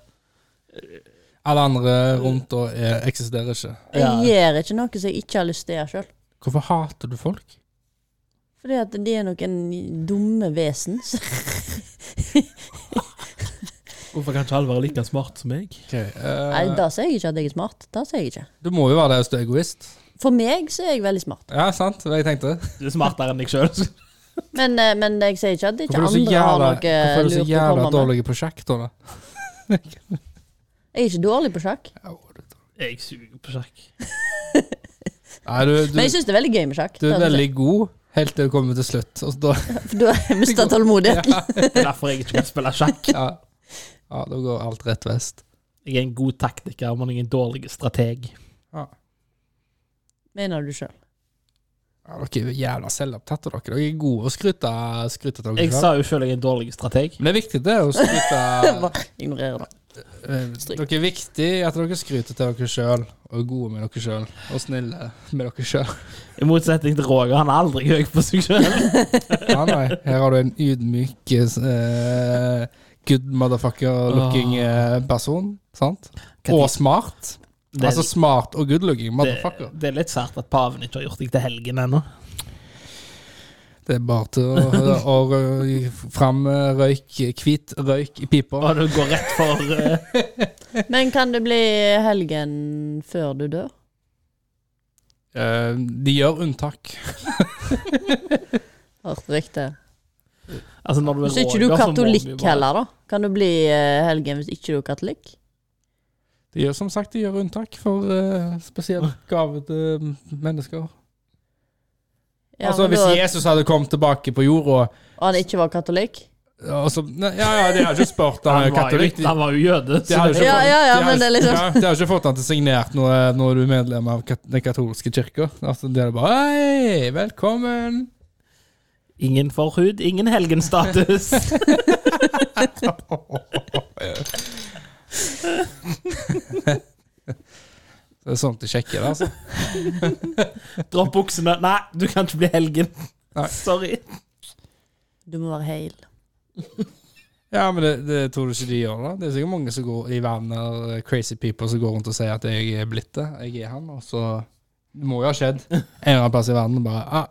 A: Alle andre rundt og er, eksisterer ikke.
B: Ja.
C: jeg gjør ikke noe som jeg ikke har lyst til å gjøre sjøl.
A: Hvorfor hater du folk?
C: Fordi at de er noen dumme vesen. Så
B: Hvorfor kan ikke alle være like smart som meg?
C: Nei,
A: Eh,
C: da sier jeg ikke at jeg er smart. Da sier jeg ikke.
A: du må jo være det hvis du er egoist.
C: For meg så er jeg veldig smart.
A: Ja, sant. Det var det jeg tenkte.
B: Du er smartere enn deg sjøl.
C: Men, eh, men jeg sier ikke at ikke
A: Hvorfor er du så
C: andre har
A: jævla,
C: noe
A: hvorfor er du så
C: lurt å
A: jævla
C: komme med.
A: dårlig på sjakk, da? da?
C: Jeg er ikke dårlig på sjakk.
B: Jeg suger på sjakk.
A: Nei, du, du,
C: Men jeg syns det er veldig gøy med sjakk.
A: du er
C: det er det.
A: veldig god helt til du kommer til slutt. Og så da,
C: For da har jeg mista tålmodigheten.
B: Det er derfor jeg ikke kan spille sjakk.
A: ja. ja, da går alt rett vest.
B: Jeg er en god taktiker, men jeg er en dårlig strateg.
C: Mener du sjøl?
A: Ja, dere er jo jævla selvopptatte, dere. Dere er gode å skryte, skryte til dere
B: Jeg
A: selv.
B: sa jo sjøl jeg er en dårlig strateg.
A: Men det er viktig, det, å skryte
C: Ignorerer det.
A: Eh, Dere er viktig at dere skryter til dere sjøl, og er gode med dere sjøl, og snille med dere sjøl.
B: I motsetning til Roger, han er aldri høy på seg sjøl.
A: Ja, nei, her har du en ydmyk eh, good motherfucker-looking eh, person, sant? Og smart.
B: Det,
A: altså smart og good-looking
B: det,
A: motherfucker.
B: det er litt sært at paven ikke har gjort deg til helgen ennå.
A: Det er bare til å, å rø- fram eh, røyk, hvit røyk i pipa.
B: Og du går rett for eh,
C: Men kan det bli helgen før du dør?
A: Eh, de gjør unntak.
C: Hørt riktig.
B: Altså, når du er
C: Hvis ikke du
B: Roger,
C: er
B: så må
C: katolikk
B: du bare-
C: heller, da. Kan det bli eh, helgen hvis ikke du er katolikk?
A: De gjør som sagt de gjør unntak for eh, spesielt gavede mennesker.
C: Ja,
A: altså
C: men
A: Hvis
C: da-
A: Jesus hadde kommet tilbake på jorda
C: og han ikke var katolikk?
A: og så, nei, Ja, ja, de har ikke spurt. Han er jo
B: Han var jo,
A: katolikk. De-
B: han var jo jøde.
A: De har jo
B: det-
A: ikke,
C: Ja,
A: fått-
C: ja, ja,
A: de har
C: men det er
A: ikke-
C: liksom-
A: ja, de har ikke fått han til signert når, når du er medlem av kat den katolske kirka. Altså, de er bare Hei, velkommen!
B: Ingen forhud, ingen helgenstatus.
A: Det er sånt de sjekker, det, altså.
B: Dropp buksene. Nei, du kan ikke bli helgen.
A: Nei.
B: Sorry.
C: sånn- Du må være heil.
A: Ja, men det, det tror du ikke de gjør, da? Det er sikkert mange som går i verden av crazy people som går rundt og sier at jeg er blitt det. Jeg er han, og så Det må jo ha skjedd en eller annen plass i verden. Bare ah,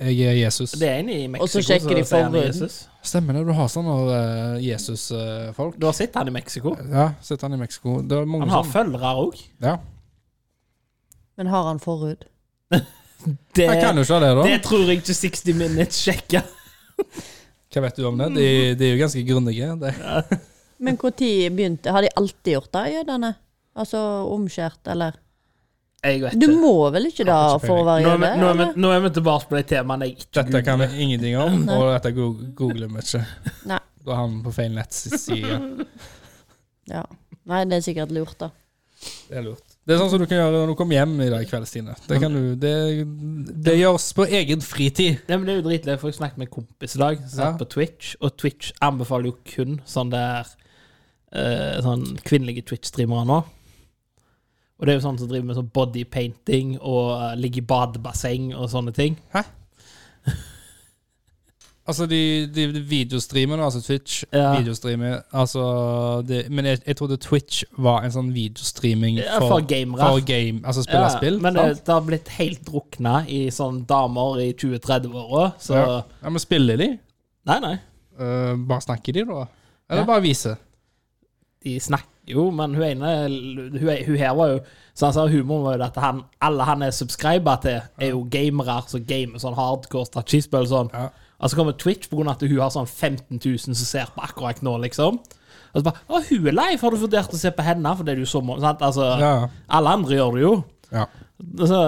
A: jeg er Jesus.
B: Det er en i Mexico
C: Og så sjekker de
B: som sier han er
C: forhuden.
B: Jesus.
A: Stemmer det, du har sånne eh, Jesus-folk.
B: Du har sett han i Mexico.
A: Ja, sånn. sitter han i Mexico. Det er mange
B: Han har
A: sånne.
B: følgere òg.
A: Ja.
C: Men har han forhud?
B: Det,
A: Jeg kan jo ikke ha det, da.
B: det tror jeg ikke 60 Minutes sjekker.
A: Hva vet du om det? De, de er jo ganske grundige. De.
C: Men når begynte Har de alltid gjort det, jødene? Altså omskjært, eller?
B: Jeg vet
C: Du
B: ikke.
C: må vel ikke da
A: har ikke
C: for å være
B: Nå er, vi,
C: jøde?
B: nå, er vi,
C: eller?
B: nå er vi tilbake på de temaene jeg ikke
A: Dette kan vi
B: googler.
A: ingenting om, og dette go- googler vi ikke.
C: Nei.
A: Da havner vi på feil nettside.
C: Ja. Nei, det er sikkert lurt, da.
A: Det er lurt. Det er sånn som du kan gjøre når du kommer hjem i dag kveld, Stine. Det, kan du, det, det gjøres på egen fritid.
B: Nei, men det er jo dritløy, for jeg snakket med en kompis i dag som satt
A: Ja.
B: på Twitch, og Twitch anbefaler jo kun sånn der eh, Sånn kvinnelige Twitch-streamere nå. Og det er jo sånn som driver med sånn body painting og eh, ligger i badebasseng og sånne ting.
A: Hæ? Altså, de, de, de videostreamene, altså Twitch
B: Ja.
A: videostreamer, altså det, Men jeg, jeg trodde Twitch var en sånn videostreaming
B: Ja,
A: for,
B: for gamere.
A: for game, altså spille
B: Ja,
A: spill.
B: men det,
A: sant?
B: det har blitt helt drukna i sånn damer i 20-30-åra, så
A: ja. ja, men spiller de?
B: Nei, nei.
A: Eh, bare snakker de, da? Eller
B: Ja.
A: bare viser?
B: De snakker jo, men hun ene Hun, hun her var jo Så han sa humoren var jo at han, alle han er subscriber til, er jo gamere som gamer sånn hardcore strategispill og sånn.
A: Ja.
B: Og så kommer Twitch på grunn av at hun har sånn 15 000 som ser på akkurat nå, liksom. Og så bare Å, hun er lei, for har du vurdert å se på henne? For det er jo så mange sant? Altså,
A: Ja.
B: alle andre gjør det jo.
A: ja.
B: Og så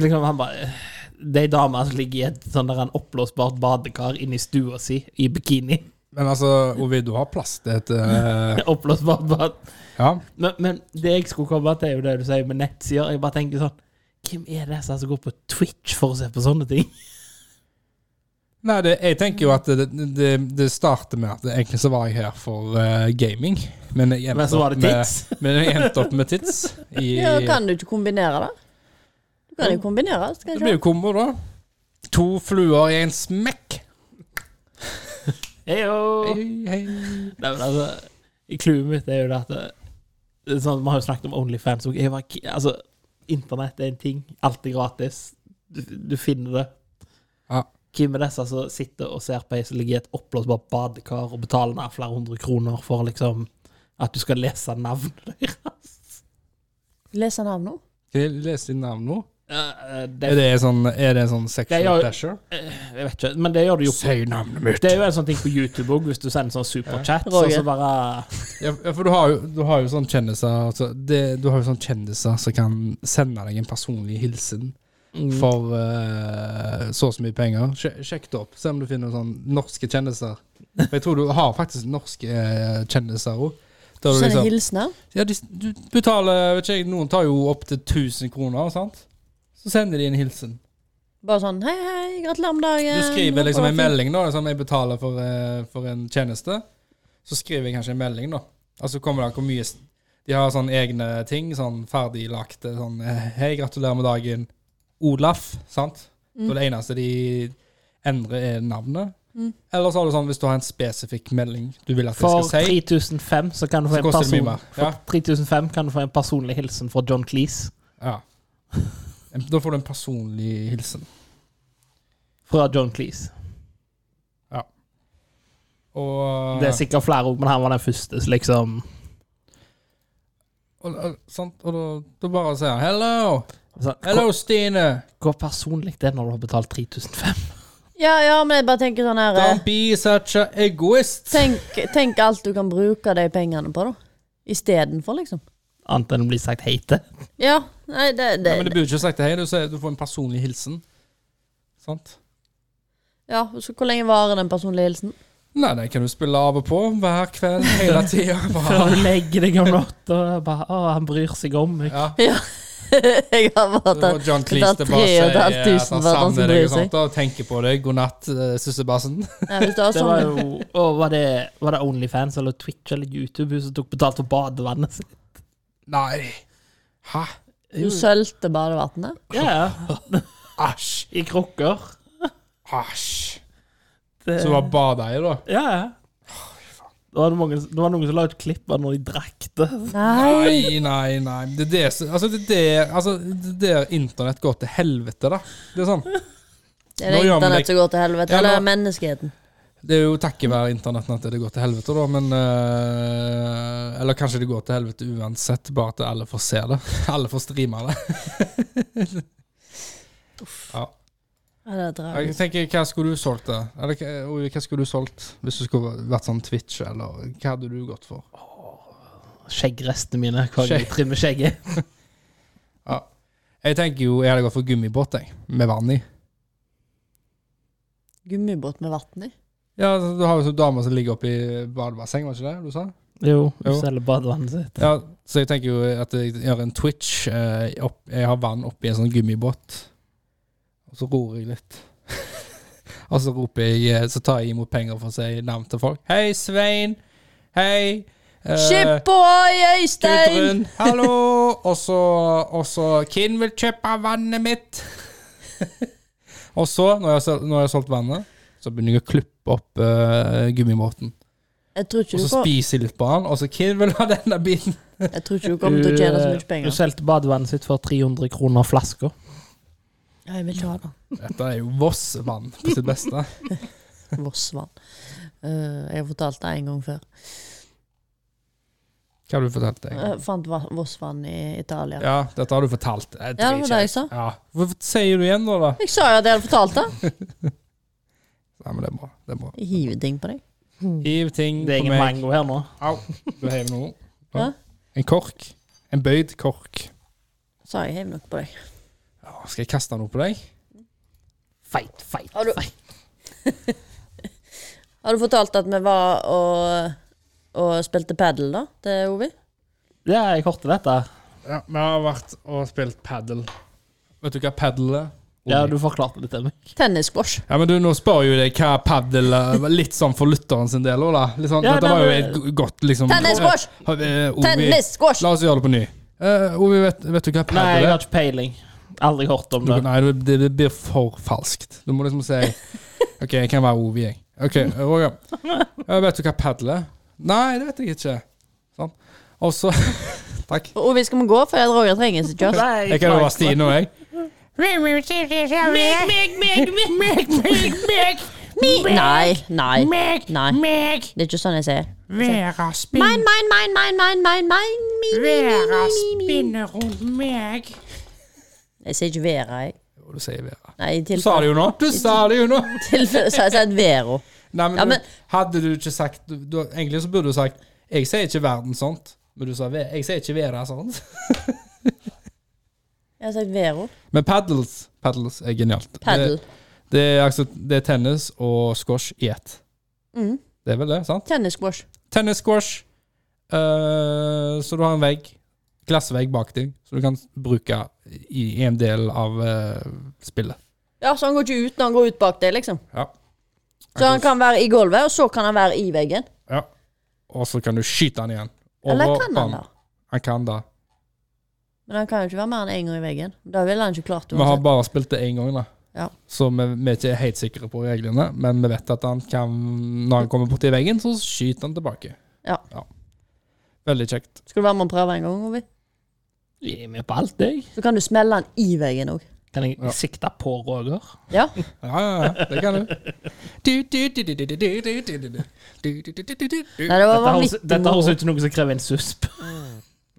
B: liksom han bare Det er ei dame som ligger i et sånn der en oppblåsbart badekar inne i stua si i bikini.
A: Men altså, Ovi, du har plass til et eh,
B: Oppblåsbart bad.
A: Ja.
B: Men, men det jeg skulle komme til, er jo det du sier med nettsider. Jeg bare tenker sånn Hvem er det som går på Twitch for å se på sånne ting?
A: Nei, det, jeg tenker jo at det, det, det starter med at egentlig så var jeg her for eh, gaming. Men, jeg endte
B: Men så var det
A: opp
B: tits.
A: Med, men jeg endte opp med tits. I,
C: Ja, kan du ikke kombinere det? Du kan jo kombinere. så kan
A: det
C: du
A: blir jo kombo, da. To fluer i en smekk.
B: Heyo!
A: Hei, hei.
B: Nei, men altså, i clouet mitt er jo det at det, det er sånn, Vi har jo snakket om Onlyfans og jeg var ikke- Altså, internett er en ting. Alt er gratis. Du, du finner det.
A: Ja.
B: Hvem er disse som sitter og ser på ei som ligger i et oppblåsbart badekar og betaler ned flere hundre kroner for liksom at du skal lese navnet deres?
C: lese navn nå.
A: Skal jeg lese ditt navn nå?
B: Eh, det-
A: Er det en sånn, er det en sånn
B: Det
A: sexual
B: gjør-
A: pleasure?
B: Jeg vet ikke, men det gjør du jo på
A: Si navnet mitt!
B: Det er jo en sånn ting på YouTube òg, hvis du sender sånn superchat. Så,
C: Roger.
B: så bare
A: Ja, ja, for du har jo, du har jo sånn kjendiser altså, det, Du har jo sånn kjendiser som kan sende deg en personlig hilsen
B: Mm.
A: for eh, så og så mye penger. Sje- Sjekk det opp. Se om du finner sånn norske kjendiser. For jeg tror du har faktisk norske eh, kjendiser òg.
C: Sånne
A: Liksom,
C: hilsener.
A: ja, de, du betaler vet ikke, jeg, Noen tar jo opptil 1000 kroner, sant? Så sender de en hilsen.
C: Bare sånn Hei, hei, gratulerer med dagen.
A: Du skriver liksom en
C: Håper det
A: melding, da. Liksom, jeg betaler for, eh, for en tjeneste. Så skriver jeg kanskje en melding, da. Og så kommer det an hvor mye s- De har sånne egne ting, sånn ferdiglagte sånn eh, Hei, gratulerer med dagen, Olaf. Sant? Så det eneste de endrer, er navnet. Eller så har du sånn hvis du har en spesifikk melding du vil at jeg
B: For
A: skal si,
B: 3005 så kan du få
A: så
B: en
A: koster det mye
B: person
A: mer. Ja.
B: 3005 kan du få en personlig hilsen fra John Cleese.
A: ja. En- Da får du en personlig hilsen.
B: Fra John Cleese.
A: Og
B: Det er sikkert flere òg, men han var den første, så liksom.
A: og, og, sant? og da, da bare sier han 'hello'.
B: Så, hvor,
A: 'Hello, Stine'.
B: hvor personlig det er når du har betalt 3005?
C: fint. Ja, ja, men jeg bare tenker sånn her eh,
A: Don't be such a egoist.
C: tenk, tenk alt du kan bruke de pengene på, da. Istedenfor, liksom.
B: Annet enn å bli sagt hei til.
C: Ja. Nei, det, det,
A: Nei, men du burde ikke sagt det hei. Du, sier- du får en personlig hilsen. Sant?
C: ja. Så hvor lenge varer den personlige hilsen?
A: Nei, den kan du spille av og på hver kveld, hele tida.
B: Før du legger deg om natta og bare Å, han bryr seg om meg.
A: Ja.
C: Ja. jeg har bare
A: Og
C: tatt
A: John Cleese det
C: tre
A: bare
C: og et
A: sier eh,
C: halvt
A: at
C: tusen
A: han
C: for at han skal
A: savner deg
C: bry
A: og sånn. sånt, og tenker på deg. God natt, eh, sussebassen.
C: Nei, hvis det var
B: Det var
C: sånn.
B: jo å, var, det, var det Onlyfans eller Twitch eller YouTube hun som tok betalt for badevannet sitt?
A: Nei. Hæ?
C: Hun sølte badevannet.
B: Ja,
A: Æsj.
B: i krukker.
A: Æsj.
B: Det,
A: Så du har bada i, da?
B: Ja, ja. Det var, det mange, det var noen som la ut klipp av når de drakk det.
C: Nei.
A: Nei, nei, nei. Det er det som Altså, det er det altså, det er der internett går til helvete, da. Det er sånn.
C: Det er det
A: Nå gjør vi
C: internett
A: det-
C: som går til helvete.
A: Ja, nå-
C: Eller menneskeheten.
A: Det er jo takket være internetten at det går til helvete, da, men eh, Eller kanskje det går til helvete uansett, bare at alle får se det. Alle får streame det. ja.
C: Ja, det er
A: Jeg
C: tragisk.
A: tenker, Hva skulle du solgt, da? Eller hva- Ovi, hva skulle du solgt hvis du skulle vært sånn Twitch, eller hva hadde du gått for?
B: Skjeggrestene mine. Hva
A: Skjegg.
B: jeg trimmer skjegget.
A: Ja. Jeg tenker jo jeg hadde gått for gummibåt, jeg, med vann i.
C: Gummibåt med vann i.
A: Ja, altså, Du har jo sånn damer som ligger oppe i badebasseng, var det ikke det du sa?
B: Jo, hun
A: Jo.
B: selger badevannet sitt.
A: Ja, så jeg tenker jo at jeg gjør en twitch. Eh, opp, jeg har vann oppi en sånn gummibåt. Og så ror jeg litt. og så roper jeg eh, Så tar jeg imot penger for å si navn til folk. Hei, Svein. Hei. eh,
C: Skip ohoi, Øystein!
A: Gudrun. Hallo. Og så Og så Kinn vil kjøpe vannet mitt. og så, når jeg, har sol- når jeg har solgt vannet, Så begynner jeg å klippe opp eh, gummimåten.
C: Jeg tror ikke
A: Og
C: du,
A: så
C: kom,
A: spiser jeg litt på den, og så Kid vil ha denne biten.
C: jeg tror ikke du kommer til å tjene så
A: Eh,
C: mye
B: Du
C: penger.
B: solgte badevannet sitt for 300 kroner flaska.
C: Nei, jeg vil ikke ha det.
A: Dette er jo Voss-mann på sitt beste.
C: Vossvann. Eh, jeg har fortalt det en gang før.
A: Hva har du fortalt deg?
C: Jeg fant va- Vossvann i Italia.
A: Ja, dette har du fortalt. Jeg
C: Ja, det var
A: driter
C: det
A: i
C: jeg sa.
A: Ja. Hvorfor sier du igjen nå, da?
C: Jeg sa jo at jeg hadde fortalt det.
A: Nei, men det er bra. Det er bra.
C: Jeg hiver ting på deg.
A: Hiv ting
B: Det er
A: på
B: ingen
A: meg.
B: mango her nå.
A: Au. Du heiv noe.
C: Hæ?
A: En kork. En bøyd kork.
C: Sa jeg heiv noe på deg.
A: Ja, skal jeg kaste noe på deg?
B: Feit, feit,
C: Har du-
B: feit.
C: Har du fortalt at vi var og, og spilte padel, da? Til Ovi?
B: Ja, jeg hørte dette.
A: Ja, vi har vært og spilt padel. Vet du hva padel er?
B: Ja, du forklarte det til meg.
C: Tennisquash.
A: Ja, men du, Nå spør jo deg hva padel er, litt sånn for lytteren sin del òg, da. Litt sånn,
B: Ja,
A: dette
B: nei,
A: var jo
B: men-
A: et go- godt liksom
C: Tennisquash!
A: Eh, eh, Ovi,
C: Tennisquash!
A: La oss gjøre det på ny. Eh, Ovi, vet, vet du hva
B: Nei, jeg
A: padel
B: har
A: er?
B: ikke peiling. Aldri hørt om
A: Du,
B: det.
A: nei, det, det blir for falskt. Du må liksom si OK, jeg kan være Ovi, jeg. OK, Roger. Eh, vet du hva padel er? Nei, det vet jeg ikke. Sånn. Og så Takk.
C: Ovi, skal vi gå? For jeg- Roger trenger ikke kjøre.
B: Nei,
A: Jeg kan jo være Stine og jeg.
D: Meg, meg, meg, meg, meg, meg, meg,
C: Nei, nei,
D: meg,
C: nei.
D: meg,
C: Det er ikke sånn jeg sier.
D: Vera
C: Mine,
D: spinner,
C: mine, mine, mine, mine, mine, mine, mine.
D: Vera spinner rundt meg.
C: Jeg sier ikke Vera, jeg.
A: Jo, Du sier Vera.
C: Nei, i
A: Du sa
C: tilfelle,
A: det jo nå! Du sa det jo nå!
C: tilfelle så har jeg sagt Vero.
A: Nei, men,
C: Ja, men-
A: du, hadde du ikke sagt du, du, Egentlig så burde du sagt 'Jeg sier ikke verden sånt', men du sa ve- 'Jeg sier ikke Vera sånt'.
C: Jeg har sagt Vero.
A: Men paddles, paddles er genialt.
C: Padel.
A: Det, det, er, altså, det er tennis og squash i ett.
C: Mm.
A: Det er vel det, sant?
C: Tennisquash.
A: Tennis, squash eh, Så du har en vegg, glassvegg bak deg, som du kan bruke i en del av eh, spillet.
C: Ja, så han går ikke ut når han går ut bak deg, liksom.
A: Ja.
C: Så han kan være i gulvet, og så kan han være i veggen.
A: Ja. Og så kan du skyte den igjen.
C: Eller
A: Over
C: kan han
A: banen.
C: da?
A: Han kan det.
C: Men han kan jo ikke være mer enn én gang i veggen. Da ville han ikke klart det.
A: Vi har
C: uansett.
A: bare spilt det én gang, da.
C: Ja.
A: Så vi, vi er ikke helt sikre på reglene, men vi vet at han kan Når han kommer borti veggen, så skyter han tilbake.
C: Ja.
A: Veldig kjekt.
C: Skal du være med og prøve en gang, Ovi?
B: Jeg er med på alt, jeg.
C: Så kan du smelle han i veggen òg.
B: Kan jeg
A: Ja.
B: sikte på Roger?
C: Ja.
A: Ja, ja, ja, det kan du. Nei,
C: Nei, det var
B: Dette høres-
C: vanvittig
B: dette høres
C: moro.
B: ut som noe som krever en susp.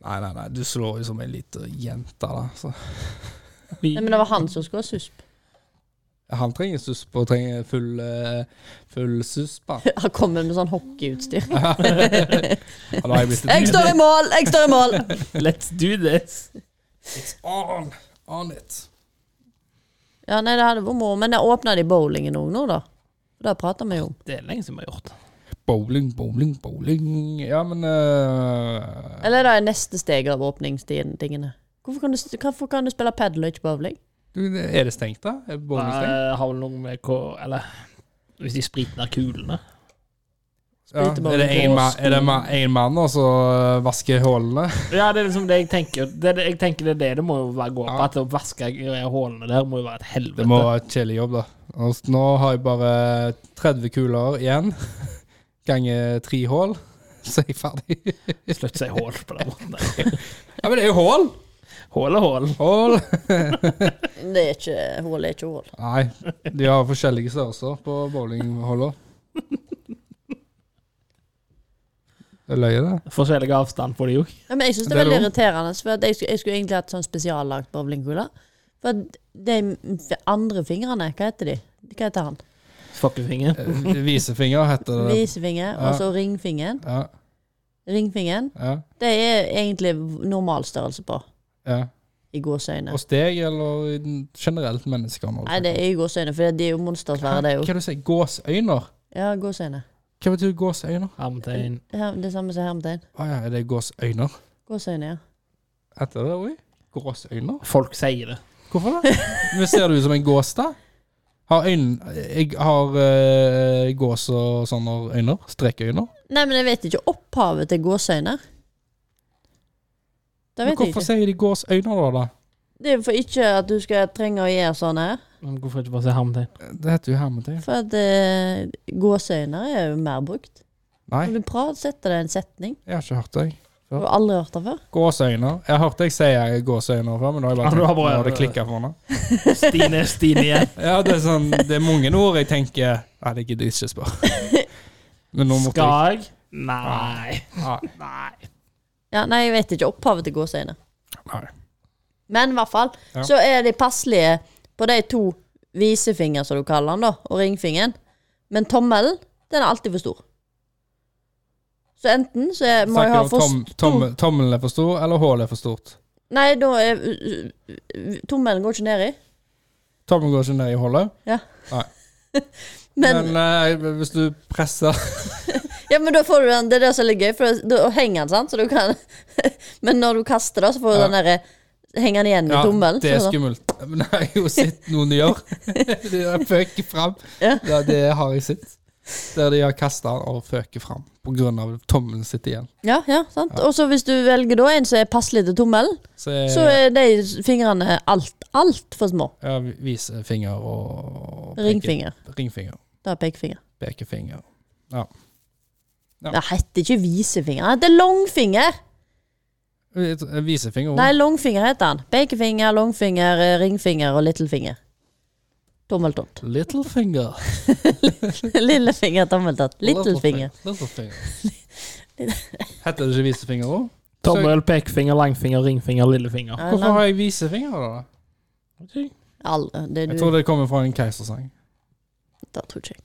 A: nei, nei, du slår jo som ei lita jente, da. Så.
C: Nei, Men det var han som skulle ha susp.
A: Han trenger susp og trenger full, eh, full susp. da.
C: Han kommer med sånn hockeyutstyr.
A: Ja, da har jeg blitt
C: Jeg står i mål! Jeg står i mål!
B: Let's do this.
A: It's on, on it.
C: Ja, nei, det hadde vært moro, men det åpna de bowlingen òg nå, da. Det prater vi jo om.
B: Det er lenge siden vi har gjort.
A: Bowling, bowling, bowling Ja, men eh,
C: Eller det er neste steg av åpningstingene. Hvorfor kan du, hvorfor kan du spille padel og ikke bowling?
A: du, Er det stengt, da? Er bowling stengt?
B: Jeg har vel noe med hva Eller hvis de spriter kulene.
A: Ja. Er
C: Sprite
A: det
C: bowling.
A: en ma- er det ma- en mann og så eh, vasker hullene?
B: Ja, det er liksom det jeg tenker. Det, er det- jeg tenker det er det det må jo være gå på.
A: Ja.
B: At å vaske greier hullene der må jo være et helvete.
A: Det må være et kjedelig jobb, da. Og s- nå har jeg bare 30 kuler igjen. Ganger tre hull, så er jeg ferdig.
B: Slutt å si hull på den måten. der.
A: Ja, men det er jo hull!
B: Hull er hull.
A: Hull!
C: Det er ikke hull, er ikke hull.
A: Nei, de har forskjellige størrelser på bowlinghullene. Det er løye, det.
B: Forskjellig avstand på de òg.
C: Ja, men jeg syns det
A: Det
C: er
A: er
C: veldig
A: lov.
C: irriterende, for at jeg, skulle- jeg skulle egentlig hatt sånn spesiallagt bowlingkule. For at de andre fingrene, hva heter de? Hva heter han?
B: Fuckefinger.
A: Eh, Visefinger heter det.
C: Visefinger, og så ringfingeren.
A: Ja,
C: Ringfingeren,
A: ja,
C: det er egentlig normalstørrelse på,
A: ja.
C: i gåseøyne.
A: Og steg, eller i den- generelt mennesker? når du
C: Nei, det er i gåseøyne, for de er jo monstersvære, det
A: Hva
C: er jo.
A: er det du sier? Gåsøyner?
C: Ja, gåseøyne.
A: Hva betyr gåsøyner?
B: Armtegn.
C: Ja, det samme som hermetegn.
A: Å ja, er det gåsøyner?
C: Gåseøyne, ja.
A: Heter det det? Gåsøyner?
B: Folk sier det.
A: Hvorfor det? Men ser du ut som en gås, da? Har øyne Jeg har eh, gås og sånne øyne. Strekøyne.
C: Nei, men jeg vet ikke opphavet til gåseøyne. Det
A: Men
C: vet jeg
A: hvorfor
C: ikke.
A: sier de gåsøyner, da? da?
C: Det er for ikke at du skal trenge å gjøre sånn her.
B: Men Hvorfor ikke bare si hermetegn?
A: Det heter jo hermetegn.
C: For at eh, gåseøyne er jo mer brukt.
A: Nei,
C: Når du prater, setter det en setning.
A: jeg har ikke hørt det. jeg.
C: Du har aldri hørt det før.
A: Gåseøyne. Jeg har hørt deg si gåseøyne før, men da har jeg bare tenkt, nå
B: Ja, du har bare-
A: har det klikka for meg.
B: Stine, Stine igjen.
A: Ja, det er, sånn, det er mange ord jeg tenker Nei, det gidder jeg ikke spørre. Men nå måtte jeg
B: Skal jeg? Nei.
A: Nei.
B: Nei.
C: Ja, nei, jeg vet ikke opphavet til gåseøyne.
A: Nei.
C: Men i hvert fall,
A: Ja.
C: så er de passelige på de to visefinger, som du kaller den, da, og ringfingeren. Men tommelen, den er alltid for stor. Så enten så er- må jeg ha
A: Snakker om
C: for
A: tom, tom, tommelen er for stor, eller hullet er for stort.
C: Nei, da er Tommelen går ikke ned i.
A: Tommelen går ikke ned i hullet.
C: Men,
A: Men, eh, hvis du presser
C: ja, men da får du den, det er det som er litt gøy, for da da henger den, sant? Så du kan, men når du kaster det, så får du
A: Ja.
C: den derre Henger den igjen i
A: Ja,
C: tommelen?
A: det er
C: sånn.
A: skummelt. Men jeg har jo sett noen gjøre. De har føket fram.
C: Ja.
A: Ja, det har jeg sett. Der de har kasta og føket fram på grunn av tommelen sitter igjen.
C: Ja, ja, sant? Og så hvis du velger da en som er passelig til tommelen,
A: Så jeg,
C: så er de fingrene alt, alt for små.
A: ja, viser finger og peke-
C: Ringfinger.
A: Ringfinger.
C: Da er pekefinger.
A: Pekefinger. Ja.
C: Det heter ikke visefinger, det heter langfinger!
A: Eh, Visefinger
C: Nei,
A: også.
C: langfinger heter han. Pekefinger, langfinger, eh, ringfinger og littlefinger. Tommeltott.
A: Little finger.
C: Lillefinger, tommeltott. Littlefinger.
A: Little finger. Heter det ikke visefinger òg?
B: Tommel, pekefinger, langfinger, ringfinger, lillefinger.
C: Ja,
A: Hvorfor
C: lang-
A: har jeg visefinger, da?
C: All, det du,
A: Jeg tror det kommer fra en keisersang.
C: Da tror ikke jeg.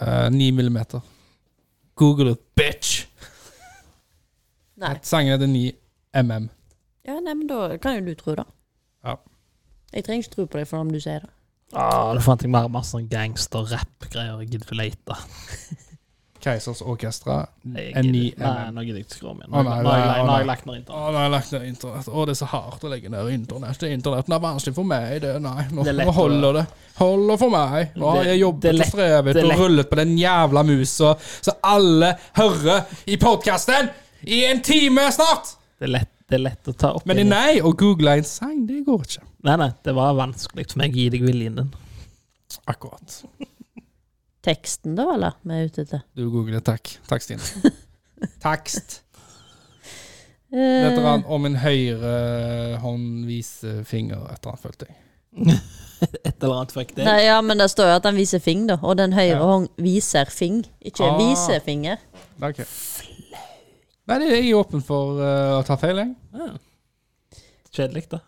A: Eh, Ni millimeter. Google it, bitch!
C: Nei.
A: Sangen heter 9 mm.
C: Ja, nei, men da kan jo du tro det.
A: Ja.
C: Jeg trenger ikke tro på deg for om du sier det.
B: Ah, da fant jeg mer masse sånn gangster-rap-greier. Jeg gidder ikke lete.
A: Keisers Orkestra.
B: Jeg
A: En ny
B: gidder- Nei,
A: MM.
B: nå gidder jeg ikke skru om
A: Å,
B: igjen. Nå
A: nei,
B: har jeg
A: nei,
B: lagt-
A: å,
B: nå har
A: nei.
B: jeg lagt ned internett.
A: Å, nei, jeg har lagt ned internett. Å, det er så hardt å legge ned internett. Internett er vanskelig for meg. Det, nei, nå,
B: Det er lett
A: nå
B: å-
A: holder det. Holder for meg. Nå har jeg
B: Det- det er
A: jobbet
B: lett-
A: og strevet
B: det er
A: og
B: lett.
A: rullet på den jævla musa så alle hører i podkasten i en time snart!
B: Det er lett, det er lett å ta opp.
A: Men
B: igjen.
A: nei, å google en sang, det går ikke.
B: Nei, nei, det var vanskelig for meg å gi deg viljen din.
A: Akkurat.
C: Teksten, da, eller? Vi er ute etter.
A: Du googler takk. Takk, Stine. Takst. Et
C: Eh,
A: eller annet om en høyre hånd viser finger, et eller annet, følte jeg.
B: Et eller annet fuck det.
C: Eh, nei, ja, men det står jo at han viser fing, da. Og den høyre
A: Ja.
C: hånd viser fing, ikke
A: Ah.
C: visefinger.
A: Ok. Nei, det er jeg er åpen for eh, å ta feil, jeg.
B: Ja. Kjedelig, da.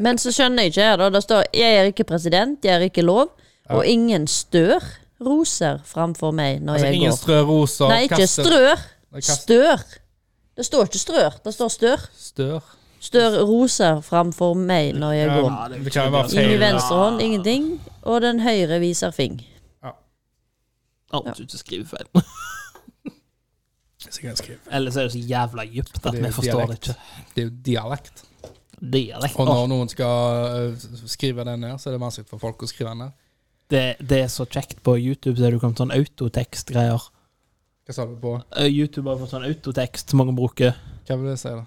C: Men så skjønner jeg ikke her, da. Det står 'Jeg er ikke president, jeg er ikke lov', og 'ingen stør roser framfor meg når
A: Altså,
C: jeg
A: ingen
C: går'.
A: strø roser.
C: Nei, ikke
A: kaster-
C: strør.
A: kaster-
C: Stør. Det står ikke strør, det står stør.
A: Stør.
C: Stør roser framfor meg når jeg går.
A: Ja, det kan jo være
B: Ingen
C: I
A: feil.
B: venn-
C: venstre hånd ingenting, og den høyre viser fing.
B: Å, du ikke skriver feil.
A: Så kan jeg skrive.
B: Ellers er det så jævla dypt at
A: Det er
B: vi
A: jo
B: forstår det
A: dialekt.
B: ikke.
A: Det er jo dialekt.
B: Dialekt.
A: Og
B: Å,
A: når noen skal eh, skrive den ned, så er det vanskelig for folk å skrive den ned.
B: det, det er så kjekt på YouTube, så er det kommet sånn autotekstgreier.
A: Hva sa du på?
B: Eh, YouTube har fått sånn autotekst mange bruker.
A: Hva vil det si, da?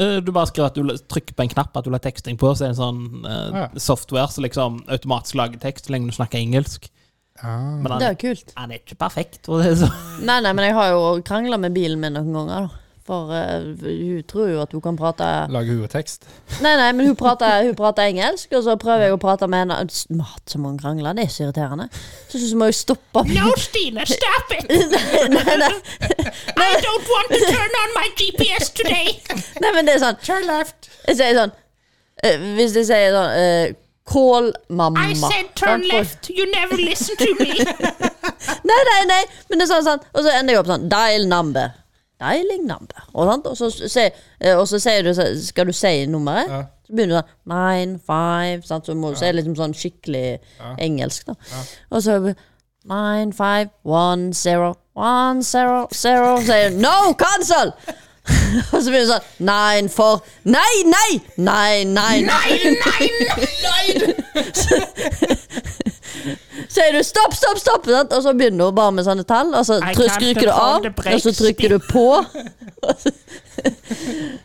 B: Eh, Du bare skriver at du la- trykker på en knapp at du la teksting på, så er det en sånn eh,
A: Ah, ja.
B: software som liksom automatisk lager tekst så lenge du snakker engelsk.
A: Ah.
B: Men
C: Det
B: han,
C: er jo kult.
B: han er ikke perfekt. For det er så.
C: Nei, nei, men jeg har jo krangla med bilen min noen ganger, da. For eh, hun tror jo at hun kan prate
A: Lage huetekst.
C: Nei, nei, men hun prater, hun prater engelsk, og så prøver jeg å prate med henne. S- Mat som hun krangler, det er så irriterende. Så så må jeg stoppe
D: No, Stina, stop it!
C: Nei, nei,
D: I don't want to turn on my GPS today.
C: nei, men det er sånn
D: Turn left.
C: Jeg sier sånn eh, Hvis jeg sier sånn eh, Call mamma.
D: I said turn
C: Sant?
D: left. You never listen to me.
C: Nei, nei, nei, men det er sånn, sånn. Og så ender jeg opp sånn Dial number. Dialing number. Og, sant? Og, så, sier- eh, og så sier du så- Skal du si nummeret?
A: Ja.
C: Så begynner du sånn Nine, five sant? Så må du si liksom sånn skikkelig engelsk, da. Og så Nine, five, one, zero, one, zero, zero Sier jeg, No, cancel! og så begynner du sånn Nine, four Nei, nei! Nei, nei, nei! sier du stopp, stopp, stopp, sant? og så begynner du bare med sånne tall, og så
D: I
C: try-
D: can't
C: skryker du
D: afford
C: av,
D: the
C: og så
D: breaks.
C: trykker du på. og så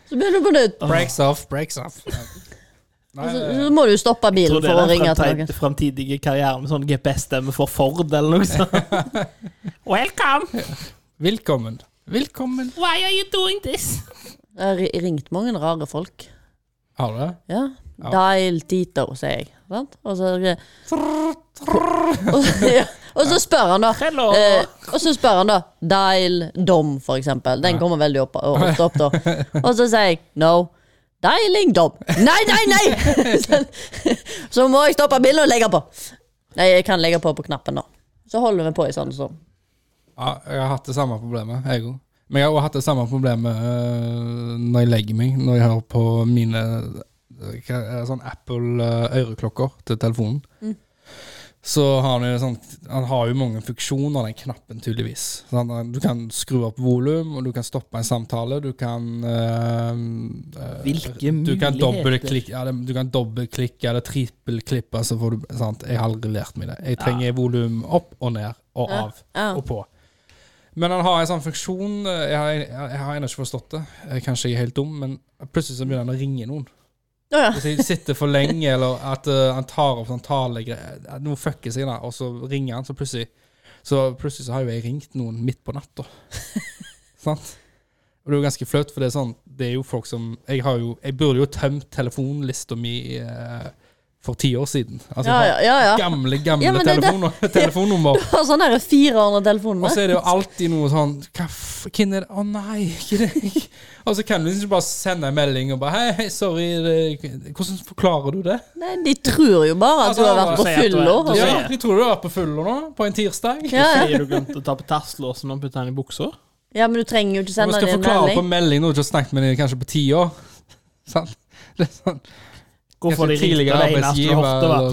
C: så begynner du på nytt.
A: Breaks off, breaks off. Nei, eh,
C: Så,
A: det-
C: så må du stoppe
B: Jeg
C: bilen
B: tror det
C: for å
B: er
C: ringe til
B: den
C: noen.
B: framtidige karrieren med sånn GPS-stemme for Ford eller noe sånt.
D: Welcome.
A: Velkommen. Velkommen.
D: Why are you doing this?
C: Jeg har ri- ringt mange rare folk.
A: Har du det?
C: Ja.
A: Ja.
C: Dial Tito, sier jeg. Sant? Og så og, ja. og så spør han, da.
B: Hello.
C: Eh, og så spør han, da. Dial Dom, for eksempel. Den kommer veldig opp, ofte opp, da. Og så sier jeg no. Dialing Dom. Nei, nei, nei! Så- Så må jeg stoppe bilen og legge på. Nei, jeg kan legge på på knappen, da. Så holder vi på i sånn sånn.
A: Ja, jeg har hatt det samme problemet, jeg òg. Men jeg har også hatt det samme problemet øh, når jeg legger meg, når jeg har på mine øh, hva er det, sånn Apple-øreklokker til telefonen. Så har han, jo sånn, han har jo mange funksjoner, den knappen, tydeligvis. Så han- du kan skru opp volum, og du kan stoppe en samtale, du kan øh, øh,
B: Hvilke
A: du kan
B: muligheter?
A: dobbeltklikke, ja, det- du kan dobbeltklikke eller trippelklippe, så får du sant? Jeg har aldri lært meg det. Jeg trenger volum opp og ned og
C: Ja,
A: av
C: ja.
A: og på. Men han har en sånn funksjon eh, Jeg har, jeg, jeg har ennå ikke forstått det. Eh, Kanskje jeg er helt dum, men plutselig så begynner han å ringe noen.
C: Å ja.
A: Hvis jeg Altså, sitter for lenge, eller at eh, han tar opp sånn talegreier eh, Noe fucker seg, da, og så ringer han, så plutselig Så plutselig så har jo jeg ringt noen midt på natta. Sant? Og det er jo ganske flaut, for det er sånn Det er jo folk som Jeg, har jo, jeg burde jo tømt telefonlista mi eh, for ti år siden. Altså
C: Ja, ja, ja, ja.
A: gamle, gamle
C: Ja, men det er det-
A: telefoner, telefonnummer.
C: Du har sånn derre 400-telefon.
A: Og så er det jo alltid noe sånn Hva f... Hvem er det? Å nei, ikke det. Og så kan du liksom bare sende en melding og bare Hei, hei, sorry. det- Hvordan forklarer du det?
C: Nei, de tror jo bare at
A: Altså,
C: du har vært
B: du
C: på
B: sier at du er-
C: fylla.
B: du
C: altså.
A: Ja, de tror du er på fulla nå, på en tirsdag.
C: Ja, ja.
B: Sier du glemte å ta på tasselåsen og putte den i buksa?
C: ja, men du trenger jo
A: Når du
C: ikke sende
A: skal
C: det i en
A: forklare på
C: melding.
A: melding noe du ikke har snakket med dem kanskje på ti år. Sant? Det er sånn
B: Hvorfor de
A: kanskje
B: ringte
A: tidligere
B: deg neste
A: arbeidsgiver
B: hofte?
A: eller-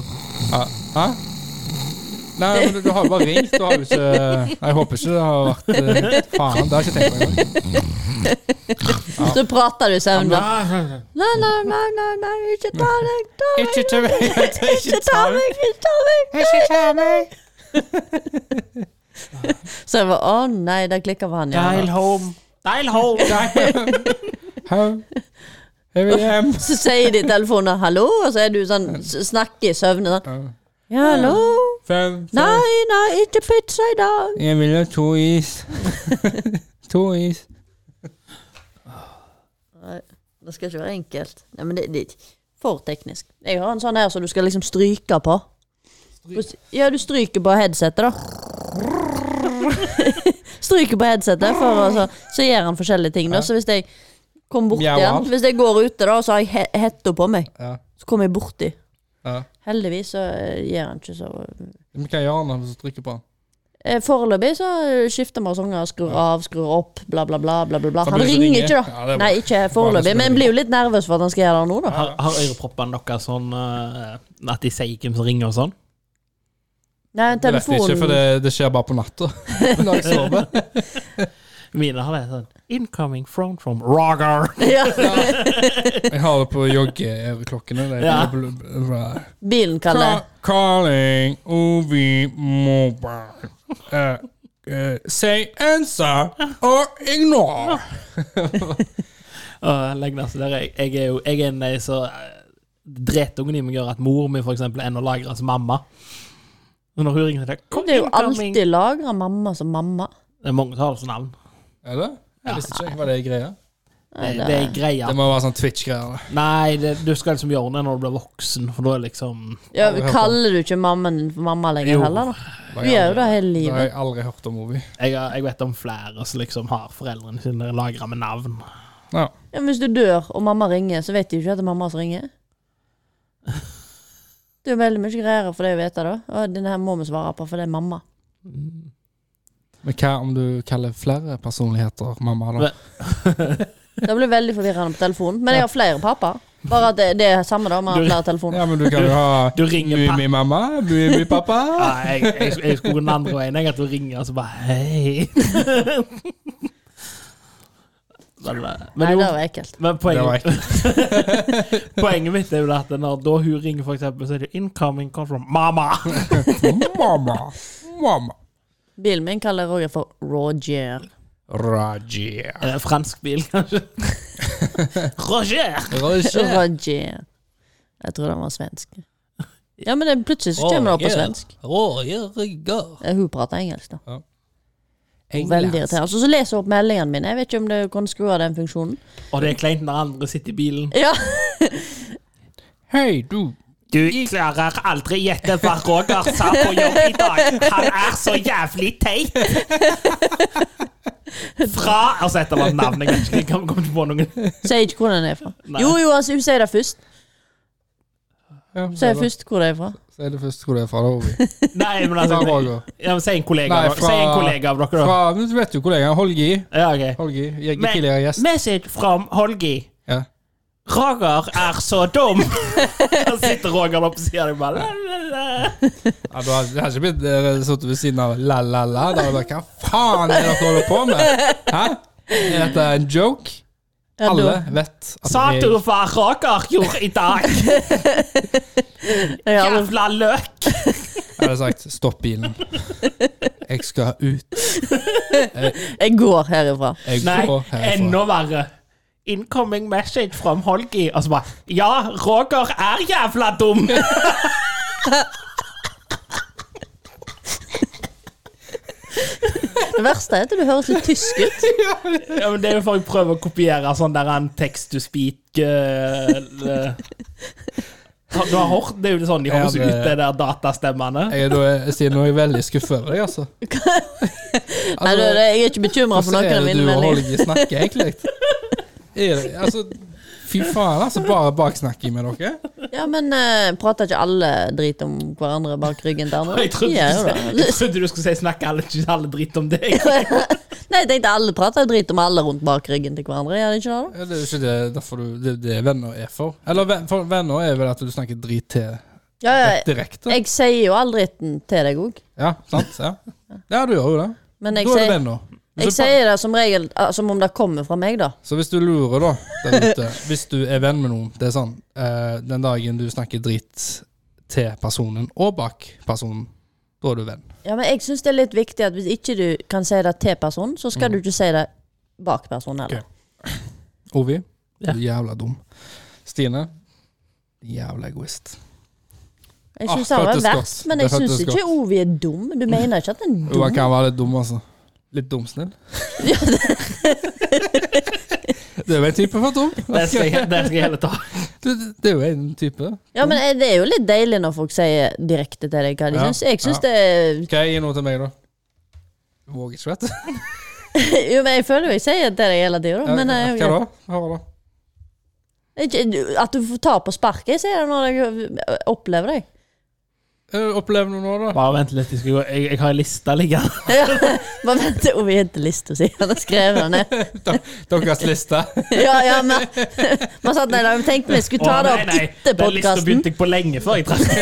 A: ja. Hæ? Nei, men du, du har jo bare ringt. Du har jo ikke Jeg håper ikke det har vært eh, Faen, det har jeg ikke tenkt på engang.
C: Så prater du i søvn. da.
A: Nei,
C: Nei, nei, nei, nei, nei, ikke ta meg, ta meg,
A: Ikke ta meg!
C: ikke ta meg, ikke ta meg.
A: Ikke ta meg!
C: Så jeg var, å nei, der klikker for han
B: Dial
C: igjen.
B: home. Dial home.
A: Hau. Jeg vil hjem.
C: Så sier de i telefonen 'hallo', og så er du sånn, s- snakker i søvne sånn.
A: Ja.
C: Ja, hallo?
A: Fem, fem.
C: Nei, nei, ikke pizza i dag.
A: Jeg vil ha to is. to is.
C: Det skal ikke være enkelt. Nei, men det, det er ikke for teknisk. Jeg har en sånn her som du skal liksom stryke på. Ja, du stryker på headsetet, da. stryker på headsetet, for å, så, så gjør han forskjellige ting. Da. Så hvis jeg kommer borti
A: Mjauer.
C: han Hvis jeg går ute, da, og så har jeg he hetta på meg,
A: Ja.
C: så kommer jeg borti.
A: Ja.
C: Heldigvis så eh, gjør han ikke så eh,
A: Vi kan gjøre noe hvis du trykker på den.
C: Foreløpig så eh, skifter masonger, skrur av, skrur opp, bla, bla, bla. bla, bla, bla.
A: Så
C: Han
A: blir det
C: ringer
A: ringe.
C: ikke,
A: Ja,
C: da.
A: det er bra.
C: Nei, ikke
A: Bare
C: foreløpig, men
A: ringe.
C: jeg blir jo litt nervøs for at han skal gjøre det nå, da.
B: Har, har øreproppene deres sånn eh, at de sier hvem som ringer og sånn?
C: Nei,
A: Det vet vi ikke, for
C: telefonen
A: det, det skjer bare på natta. Når jeg sover.
B: Mine har det sånn Incoming phone from Roger.
C: ja,
A: Jeg har det på joggeøreklokkene. det er
B: Ja.
A: bl- bl- bl-
C: Bilen kan det.
A: Ca- Calling OV mobile. Eh, eh, say answer or ignore.
B: Uh, legg ned, så der, jeg, jeg er jo jeg er en av de som eh, Dretungen i meg gjør at mor mi for eksempel er en og lagres mamma. Og når hun ringer til deg
C: Det er jo alltid lagra mamma som mamma.
B: Det er mange som har det som navn.
A: Er det? Jeg visste ikke hva det er greia.
B: Det, det er greia.
A: Det må være sånn Twitch-greier. da.
B: Nei, det, du skal liksom gjøre det når du blir voksen, for da er liksom
C: Ja,
A: Aldri hørt om.
C: kaller du ikke mammaen din for mamma lenger
B: Jo.
C: heller, da? Du gjør jo det
A: Det
C: hele
A: har
C: livet.
A: jeg aldri hørt om Ovi.
B: Jeg, har- jeg vet om flere som liksom har foreldrene sine lagra med navn.
A: Ja.
C: Ja, men hvis du dør og mamma ringer, så vet de jo ikke at det er mamma som ringer. Det er jo veldig mye greier for deg å vite, da. Og denne her må vi svare på, for det er mamma.
A: Men hva om du kaller flere personligheter mamma, da?
B: Hva-
C: Det blir veldig forvirrende på telefonen. Men jeg har flere pappa. Bare at det, det er samme, da. Vi har flere telefoner.
A: Ja, men du kan jo ha
B: Du ringer pa-
A: Mummi-mamma, Mummi-pappa.
B: Ja, jeg, jeg, jeg skulle gå den andre veien. Jeg at du ringer og så bare Hei. Men, eh, men,
C: Nei,
B: jo,
C: det var ekkelt.
B: men
A: Det var
B: poenget,
A: ekkelt.
B: poenget mitt er jo det at når da hun ringer, for eksempel, så er det 'incoming call from mama'.
A: Mamma. Mamma.
C: Bilen min kaller Roger for Roger.
A: Roger.
B: Eh, Fransk bil, kanskje. Roger!
A: Roger.
C: Roger. Jeg tror den var svensk. Ja, men det, plutselig så kommer det opp på svensk.
A: Rådgjørger.
C: Eh, Hun prater engelsk, da. Veldig
A: Englands.
C: irriterende. Altså, så leser hun opp meldingene mine. Jeg vet ikke om du kan skru av den funksjonen.
B: Og det er kleint når andre sitter i bilen.
C: Ja,
A: Hei, du.
B: Du klarer aldri gjette hva Roger sa på jobb i dag. Han er så jævlig teit! Fra Altså, dette var navnet, jeg vet ikke, jeg kan- kom ikke på noen.
C: Sier ikke hvor den er fra.
B: Nei.
C: Jo, jo, altså, hun sier det først.
A: Ja,
C: Hun sier først hvor det er fra.
A: Så er det først hvor det er fra. da, Ovi.
B: Nei, men
A: Fra
B: altså
A: Roger.
B: ja, men Si en kollega
A: Nei,
B: av- si en
A: fra-
B: kollega av dere, da.
A: Fra, men du vet jo kollegaen Holgi.
B: Ja, ok.
A: Holgi, jeg er
B: Men-
A: tidligere gjest.
B: Message from Holgi.
A: Ja.
B: Roger er så dum! Og sitter Roger oppe og sier det bare la, la, la.
A: Ja, du har, det har ikke blitt eh, sittet ved siden av la-la-la. Da har du bare Hva faen er det dere holder på med? Hæ? Er dette en joke?
C: Ja,
A: Alle
C: da-
A: vet at
B: Sa
A: jeg-
B: du hva Roger gjorde i dag?
C: Jeg har aldri-
B: Jævla løk!
A: Jeg hadde sagt 'stopp bilen'. Jeg skal ut.
C: Jeg går herifra.
A: Jeg
B: Nei,
A: går herfra.
B: enda verre. Incoming message from Holgi. Og så bare Ja, Roger er jævla dum!
C: Det verste er at du høres litt tysk ut.
B: ja, men det er jo for jeg prøver å kopiere sånn der en text to speak eh, le- Har- Du har hørt Det er jo sånn de høres
A: Ja,
B: ut,
A: det-
B: det der eh. datastemmene.
A: Jeg er da, Stine, nå er jeg veldig skuffet over deg, altså.
C: Nei, du, det- jeg er ikke bekymra for
A: Hvordan
C: noen
A: Altså, er
C: av
A: det
C: mine
A: du og
C: meldinger.
A: Holgi snakker, egentlig? Er det, altså, fy faen, altså. Bare baksnakking med dere.
C: Ja, men eh, prater ikke alle drit om hverandre bak ryggen til andre?
B: Jeg trodde,
C: Ja,
B: du
C: jo
B: skulle,
C: da.
B: jeg trodde du skulle si 'snakker alle, ikke alle dritt om deg'.
C: Nei, jeg tenkte alle prater jo drit om alle rundt bak ryggen til hverandre. Gjør de ikke det, da?
A: Ja, Det er jo ikke det, derfor du, det, det venner er for. Eller ven- for venner er vel at du snakker drit til
C: Ja, ja,
A: direkte.
C: jeg sier jo all dritten til deg òg.
A: Ja, sant? Ja, ja du gjør jo det.
C: Men jeg
A: Da er du
C: sier,
A: venner.
C: jeg
A: Så,
C: sier det som regel ah, som om det kommer fra meg, da.
A: så hvis du lurer, da, der ute Hvis du er venn med noen, det er sånn eh, Den dagen du snakker drit til personen og bak personen, da er du venn.
C: Ja, men jeg syns det er litt viktig at hvis ikke du kan si det til personen, så skal du ikke si det bak personen heller.
A: Mm. Ok. Ovi,
B: Ja.
A: du er jævla dum. Stine, jævla egoist.
C: Jeg
A: Ah,
C: syns han var
A: føltes godt.
C: verst, men
A: Det
C: jeg syns
A: føltes
C: ikke Ovi er dum. Du mener ikke at han er
A: Mm. Jo, han
C: dum?
A: kan være litt dum, altså. Litt dumsnill. det er jo en type for dum.
B: Det skal jeg, det skal jeg heller ta.
A: Det, det er jo en type.
C: Ja, men eh, det er jo litt deilig når folk sier direkte til deg hva de
A: Ja,
C: syns. Jeg syns
A: ja.
C: det er
A: Hva er noe til meg, da? Du våger ikke, vet du.
C: Jo, men jeg føler jo jeg sier det til deg hele tida, men eh,
A: Hva
C: ok.
A: da? Hør da.
C: Ikke- du- At du får ta på sparket, jeg sier det når jeg eh, opplever deg.
A: Eh, Opplev noe nå, da.
B: Bare vent litt, jeg, skal gå. jeg, jeg har en liste liggende.
C: Ja, Bare vent til Ovi er til lista si. Han har skrevet den ned.
A: Deres liste.
C: Ja, ja, men Man satt nei, da, vi tenkte vi skulle ta
B: Å,
C: det
B: nei,
C: opp
B: nei,
C: etter
B: Den lista
C: podkasten.
B: begynte jeg på lenge før jeg traff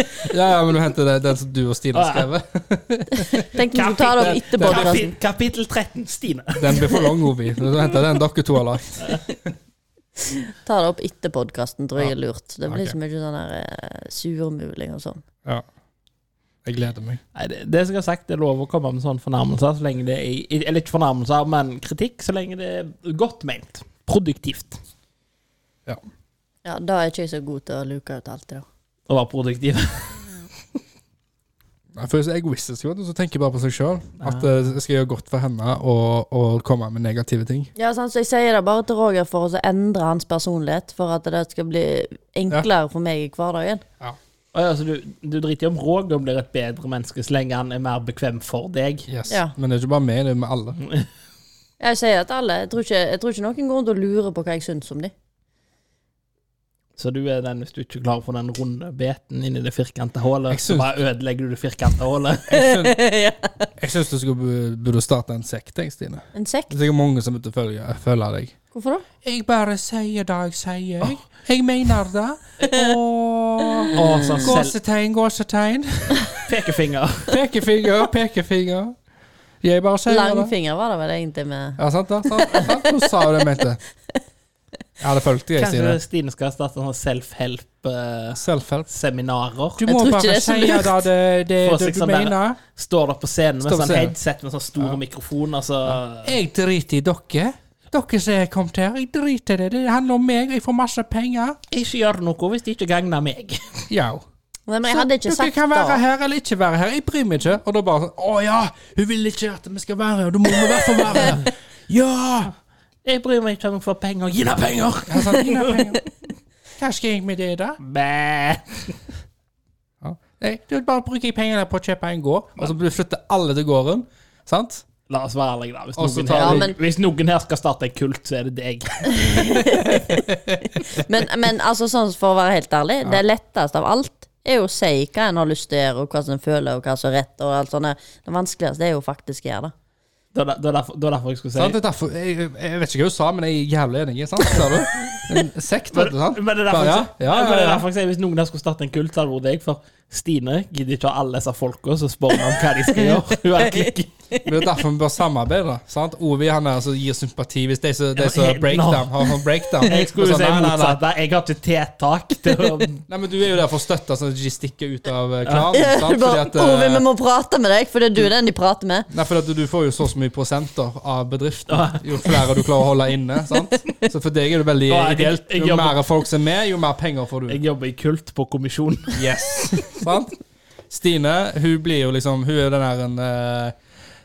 A: Ja, ja, men du henter det, den som du og Stine har skrevet.
C: Tenkte vi skulle ta det opp etter podkasten.
B: Kapit kapittel 13, Stine.
A: Den blir for lang, Ovi. Du henter den dere to har lagt.
C: Ta det opp etter podkasten, tror jeg er lurt. Det blir
A: Ok.
C: så mye sånn der eh, surmuling og sånn.
A: Ja. Jeg gleder meg.
B: Nei, det, det som jeg har sagt, det er lov å komme med sånne fornærmelser, så lenge det er, eller ikke fornærmelser, men kritikk, så lenge det er godt ment. Produktivt.
A: Ja.
C: Ja, da er ikke jeg så god til å luke ut alt det da.
B: Å være produktiv.
A: Jeg føler så egoistisk, vet du, så tenker jeg bare på seg sjøl. At eh, jeg skal gjøre godt for henne og, og komme med negative ting.
C: Ja, sant, så jeg sier det bare til Roger for å så endre hans personlighet, for at det skal bli enklere for meg i hverdagen.
B: Å ja, så du, du driter i om Roger blir et bedre menneske så lenge han er mer bekvem for deg.
A: Yes. Mm.
C: Ja.
A: Men det er ikke bare meg, det er med alle.
C: Jeg sier til alle, jeg tror ikke, jeg tror ikke noen går rundt og lurer på hva jeg syns om de.
B: Så du er den, hvis du ikke klarer å få den runde beten inn i det firkanta hullet,
A: Jeg
B: så
A: syns-
B: bare ødelegger du det firkanta hullet.
A: Jeg syns du skulle, bu- burde starte en sekt, jeg, Stine.
C: En sekk?
A: Det er sikkert mange som ikke følger, følger deg.
C: Hvorfor da?
A: Jeg bare sier det jeg sier. Jeg, mener det. Og
B: Å, sånn selv...
A: Gåsetegn, gåsetegn.
B: Pekefinger.
A: Pekefinger, pekefinger. Jeg bare sier det.
C: Langfinger var det vel egentlig med
A: Ja, sant det? Sant, sant? Hun sa jo det jeg mente. Jeg hadde fulgt deg,
B: Kanskje
A: Stine.
B: Stine skal starte eh, sånn self-help-seminarer.
A: Self-help. Du
C: Jeg
A: må
C: tror ikke det
A: bare
C: er så
A: si det,
C: lurt.
A: det, det,
B: Få
A: det
B: seg
A: du
B: sånn der-
A: mener.
B: Står der på scenen med
A: Står på
B: sånn
A: scenen.
B: headset med sånn store mikrofoner, så
A: Jeg driter i dere. Dere som er kommet her, jeg driter i det. Det handler om meg, og jeg får masse penger.
B: Ikke gjør noe hvis det ikke gagner meg.
A: Ja.
C: Nei, men jeg hadde ikke
A: Dere
C: sagt
A: kan være
C: det.
A: her eller ikke være her, jeg bryr meg ikke. Og da bare sånn Å ja, hun vil ikke at vi skal være her, da må vi i hvert fall være her. Ja!
B: Jeg bryr meg ikke om jeg får penger. Gi deg penger!
A: Jeg sa, «Ingen har penger. Hva skal jeg med det, da?
B: Bæ.
A: Ja. Nei, da bare bruker jeg pengene på å kjøpe en gård, og så flytter alle til gården. Sant?
B: La oss være ærlige, da. Hvis
A: Og så
B: noen,
A: tar
B: her,
C: vi- Ja, men-
B: hvis noen her skal starte en kult, så er det deg.
C: Men, men altså, sånn for å være helt ærlig, det letteste av alt er jo å si hva en har lyst til å gjøre, og hva som en føler, og hva som er rett. og alt sånt. der. Det vanskeligste er jo faktisk å gjøre det.
B: Det var der- det var derfor, det var derfor jeg skulle si
A: Sant? Det er derfor, jeg, jeg vet ikke hva hun sa, men jeg er jævlig enig. Sant? Ser du? En sekt, vet du. sant?
B: Men det er derfor,
A: Bare,
B: jeg-
A: ja,
B: men
A: ja,
B: det er
A: ja,
B: derfor jeg sier hvis noen der skulle starte en kult, så hadde det vært deg. For Stine gidder ikke ha alle disse folka som spør meg om hva de skal gjøre. Hun er klikk.
A: Men Det er derfor vi bør samarbeide. sant? Ovi han er som gir sympati hvis de som de
B: Ja,
A: som
B: helt-
A: breakdown, har sånn breakdown.
B: Jeg skulle
A: Og
B: jo si
A: sånn, nei, nei, nei.
B: motsatt. der. Jeg har ikke tiltak til å
A: Nei, men Du er jo der for å støtte, sånn at de ikke stikker ut av eh, klanen. sant? Fordi
C: Bare,
A: at,
C: Ove, vi
A: eh,
C: må prate med deg, for det er du den de prater med.
A: nei, fordi at du får jo så så mye prosenter av bedriften jo flere du klarer å holde inne. sant? Så for deg er det veldig
B: Ja, jeg-
A: ideelt.
B: jeg
A: Jo
B: jobber-
A: mer folk som er med, jo mer penger får du.
B: Jeg jobber i kult på kommisjon.
A: Yes. Sant? Stine, hun blir jo liksom Hun er jo den der en eh,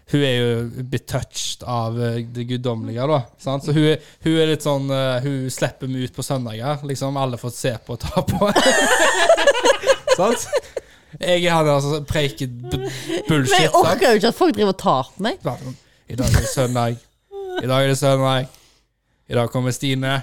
A: Hun er jo betouched av eh, det guddommelige, da. Sant? Så hun er, hun er litt sånn eh, Hun slipper meg ut på søndager. Liksom alle får se på og ta på. sant? Jeg er han der som preiker b-
C: Men jeg
A: bullshit. sant?
C: orker jo ikke at folk driver og tar på meg.
A: Bare sånn, I dag er det søndag. I dag er det søndag. I dag kommer Stine.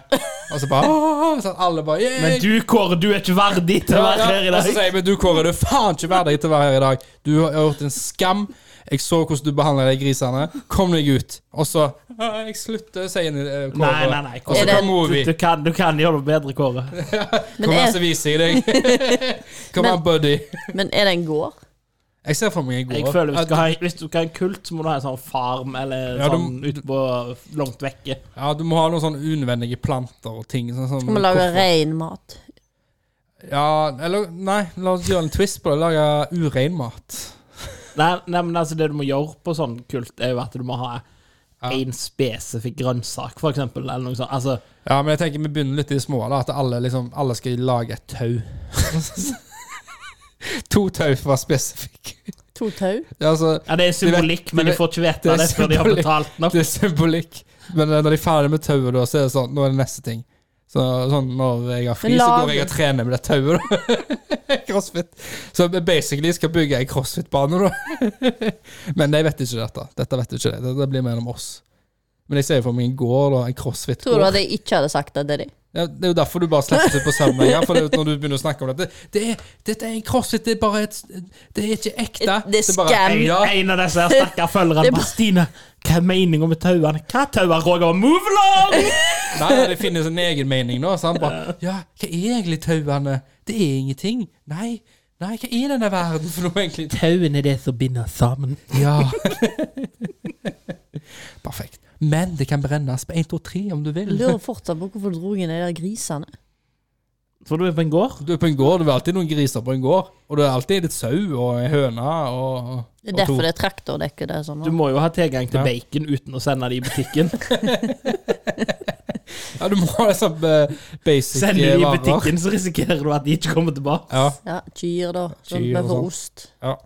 A: Og så bare «Åh!» sånn, Alle bare «Yay!»
B: Men du, Kåre, du er ikke verdig til å være her i
A: Og så
B: dag.
A: sier jeg, men du Kåre, du er faen ikke verdig til å være her i dag. Du har gjort en skam. Jeg så hvordan du behandla de grisene. Kom deg ut. Og så «Ja, Jeg slutter, sier en, eh, Kåre.
B: Nei, nei, nei.
A: Og så
C: Er det-
A: kommer
B: Du,
A: Ovi.
B: du, kan, du kan gjøre det bedre, Kåre.
C: Men
A: Kom altså, her,
C: er,
A: så viser jeg deg. Kom
C: Men-
A: her, buddy.
C: men er det en gård?
A: Jeg ser for meg en
B: Jeg
A: god
B: føler Hvis du
A: ja,
B: skal ha, hvis du skal ha en kult, så må du ha en sånn farm eller
A: Ja, du-
B: sånn ute på langt vekke.
A: ja, du må ha noen sånne unødvendige planter og ting. Sånn, sånn,
C: Skal vi lage
A: hvorfor-
C: ren mat?
A: Ja, eller nei, la oss gjøre en twist på det. Lage urein mat.
B: Nei, nei, men altså det du må gjøre på sånn kult, er jo at du må ha
A: Ja.
B: én spesifikk grønnsak, for eksempel, eller noe sånt. Altså,
A: Ja, men jeg tenker vi begynner litt i det små, da. At alle, liksom, alle skal lage et tau. to tau for å være spesifikk.
C: To tau?
A: Ja, altså,
B: ja, det er symbolikk, men
A: det-
B: de får ikke vite
A: det
B: det,
A: er
B: før de har
A: symbolikk.
B: betalt nok.
A: Det er symbolikk. Men eh, når de er ferdig med tauet, da, så er det sånn Nå er det neste ting. Så, sånn når jeg har fri,
C: Men
A: så
C: lag-
A: går jeg og trener med det tauet, da. crossfit. Så jeg basically skal bygge ei crossfit-bane, da. Men de vet ikke dette. Dette vet ikke de. Dette blir mellom oss. Men jeg ser jo for meg en gård, da. En
C: Tror du
A: crossfit-gård.
C: at jeg ikke hadde sagt det til dem?
A: Ja, det er jo derfor du bare slipper ut på søndager. For det er jo når du begynner å snakke om dette Det er, dette er en crossfit, det er bare et Det er ikke ekte.
C: Det er
A: bare-
C: scam.
B: En,
A: Ja,
B: en av disse her stakkars følgerne
C: Det er
B: bare Stine, hva er meninga med tauene? Hva tauer, Roger? Move along!
A: Nei, nei, det finnes en egen mening nå. Så han bare Ja, hva er egentlig tauene? Det er ingenting. Nei. Nei, hva er denne verden for noe, egentlig?
B: Tauene er det som binder sammen.
A: Ja. Perfekt. Men det kan brennes på 1, 2, 3 om du vil.
C: Lurer fortsatt på hvorfor du dro inn de der grisene.
B: For du er på en gård?
A: Du er på en gård, det er alltid noen griser på en gård. Og det er alltid et sau og en høne og,
C: Det er
A: og
C: derfor det er traktordekke der. Sånn.
B: Du må jo ha tilgang til
A: Ja.
B: bacon uten å sende det i butikken.
A: Ja, du må ha det sånn eh, basic
B: Sender du det i
A: varer.
B: butikken, så risikerer du at de ikke kommer tilbake.
A: Ja,
C: Ja, Kyr, da. Sånn,
A: Kyr
C: vi
A: og
C: får
A: sånn.
C: ost.
A: ja.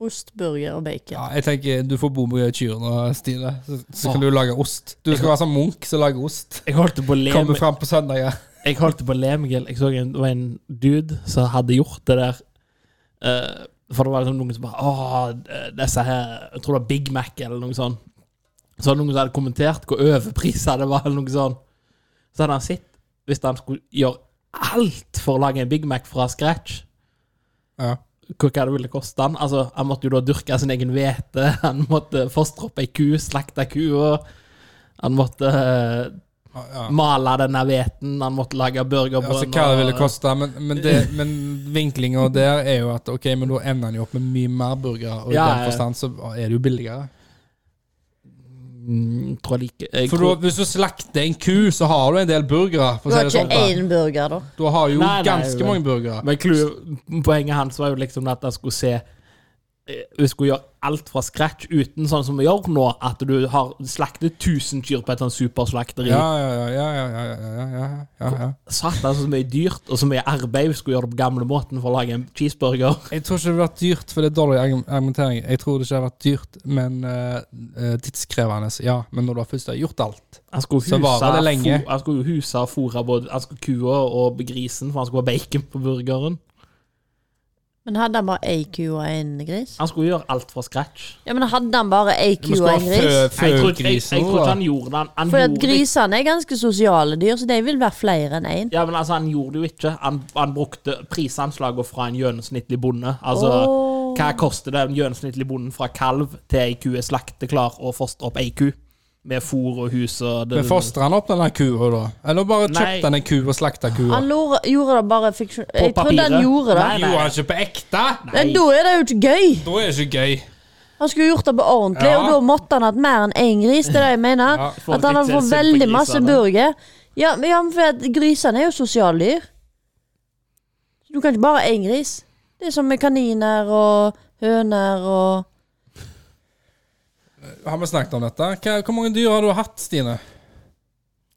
C: Ost, burger og bacon.
A: ja, jeg tenker du får bo med kyrne, Stine. Så, så kan du lage ost. Du skal være sånn munk som lager ost.
B: Jeg holdt på å le
A: Kommer fram på søndager.
B: Jeg holdt på å le meg i hjel. Jeg så en, det var en dude som hadde gjort det der. Eh, for det var liksom noen som bare Åh, disse her Jeg tror det var Big Mac eller noe sånt. Så var det noen som hadde kommentert hvor overprisa det var, eller noe sånt. Så hadde han sett Hvis han skulle gjøre alt for å lage en Big Mac fra scratch,
A: Ja.
B: hvor hva det ville koste han. Altså, han måtte jo da dyrke sin egen hvete. Han måtte fostre opp ei ku, slakte kua. Han måtte eh,
A: Ja, ja.
B: male denne hveten, han måtte lage burgerbrød.
A: Altså hva det ville koste, men, men, det- men vinklinga der er jo at ok, men da ender en jo opp med mye mer burgere, og
B: Ja,
A: i
B: ja.
A: den forstand så er det jo billigere.
B: Mm, tror jeg like. jeg
A: For da,
B: tror,
A: hvis du slakter en ku, så har du en del burgere. For
C: Du
A: å si
C: har
A: det
C: ikke
A: sånn, da.
C: én burger, da.
A: Du har jo
B: Nei, nei,
A: ganske
B: men-
A: mange burgere.
B: men clue, poenget hans var jo liksom at han skulle se eh, vi skulle gjøre alt fra scratch uten sånn som vi gjør nå, at du har slaktet 1000 kyr på et sånt superslakteri.
A: Ja, ja, ja, ja, ja, ja, ja, ja, ja, ja.
B: Satan, så mye dyrt og så mye arbeid vi skulle gjøre det på gamlemåten for å lage en cheeseburger.
A: Jeg tror ikke det hadde vært dyrt, for det er dårlig argu- argumentering. Jeg tror det ikke hadde vært dyrt, men eh, eh, tidskrevende. Ja, men når du har først har gjort alt
B: Han skulle
A: Så
B: huse,
A: varer det lenge.
B: fo- han skulle jo huse og fôre både han skulle kua og grisen, for han skulle ha bacon på burgeren.
C: Men hadde han bare ei ku og en gris?
B: Han skulle gjøre alt fra scratch.
C: Ja, men hadde han bare ei ku og en gris?
B: Jeg tror, jeg, jeg
A: grisen,
B: tror ikke han gjorde det. Han, han
C: For
B: gjorde det ikke.
C: grisene er ganske sosiale dyr, så de vil være flere enn én.
B: Ja, men altså, han gjorde det jo ikke. Han, han brukte prisanslagene fra en gjennomsnittlig bonde. Altså,
C: Åh.
B: hva koster det en gjennomsnittlig bonde fra kalv til ei ku er slakteklar og fostre opp ei ku? Med fôr og hus og det-
A: Men fostra han opp denne kua, da? Eller bare
B: Nei.
A: kjøpte han en ku og slakta kua?
C: Han lor, gjorde det bare fiksjon... Jeg trodde han
B: papiret.
C: gjorde det.
B: Nei, nei.
A: Gjorde han ikke på ekte?
C: Nei, da er det jo ikke gøy!
A: Da er det ikke gøy.
C: Han skulle gjort det på ordentlig,
A: Ja.
C: og da måtte han hatt mer enn én gris. Det er det jeg mener.
A: Ja,
B: for
C: at han hadde
B: litt
C: fått
B: selvsyn på
C: veldig
B: grisene.
C: masse burger. Ja, men ja, men for at grisene er jo sosiale dyr. Du kan ikke bare ha én gris. Det er som med kaniner og høner og
A: Har vi snakket om dette? Hva, hvor mange dyr har du hatt, Stine?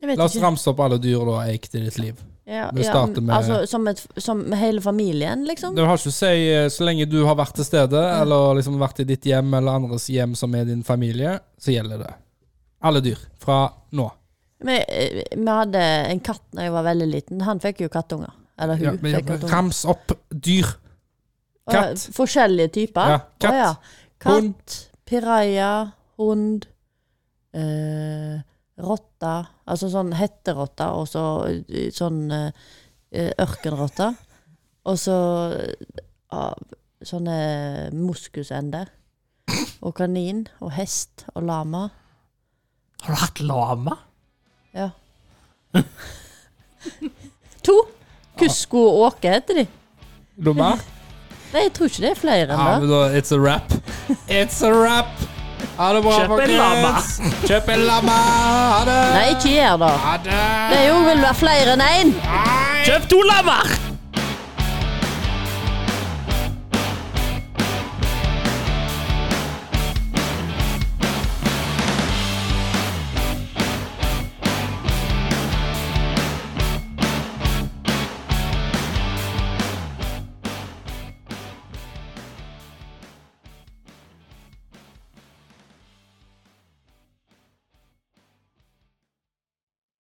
C: Jeg vet
A: La oss
C: ikke.
A: ramse opp alle dyr du har eikt i ditt liv.
C: Ja,
A: Vi starter med-
C: altså, som, et, som hele familien, liksom.
A: Du har ikke å si eh, Så lenge du har vært til stede, eller liksom vært i ditt hjem eller andres hjem som er din familie, så gjelder det. Alle dyr. Fra nå.
C: Vi, eh, vi hadde en katt da jeg var veldig liten. Han fikk jo kattunger. Eller hun
A: Ja, men,
C: fikk kattunger.
A: rams opp dyr.
C: Å, ja,
A: katt.
C: forskjellige typer.
A: Ja, katt,
C: Å, ja. katt
A: hund.
C: Piraja, hund, eh, rotte Altså sånn hetterotte, og så eh, sånn eh, eh, ørkenrotte. Og så eh, sånne moskusender. Og kanin, og hest, og lama.
B: Har du hatt lama?
C: Ja. to. Kusko og Åke heter de.
A: Lomma?
C: Nei, jeg tror ikke det er flere
A: Ja,
C: enn
A: men
C: det.
A: da, Ah, it's a wrap. It's a wrap. Ha det bra,
B: Kjøp en lama.
A: folkens. Kjøp en lamma. Ha det.
C: Nei, ikke gjør det.
A: Ha det.
C: Det er jo vel være flere enn én.
B: Kjøp to lammer!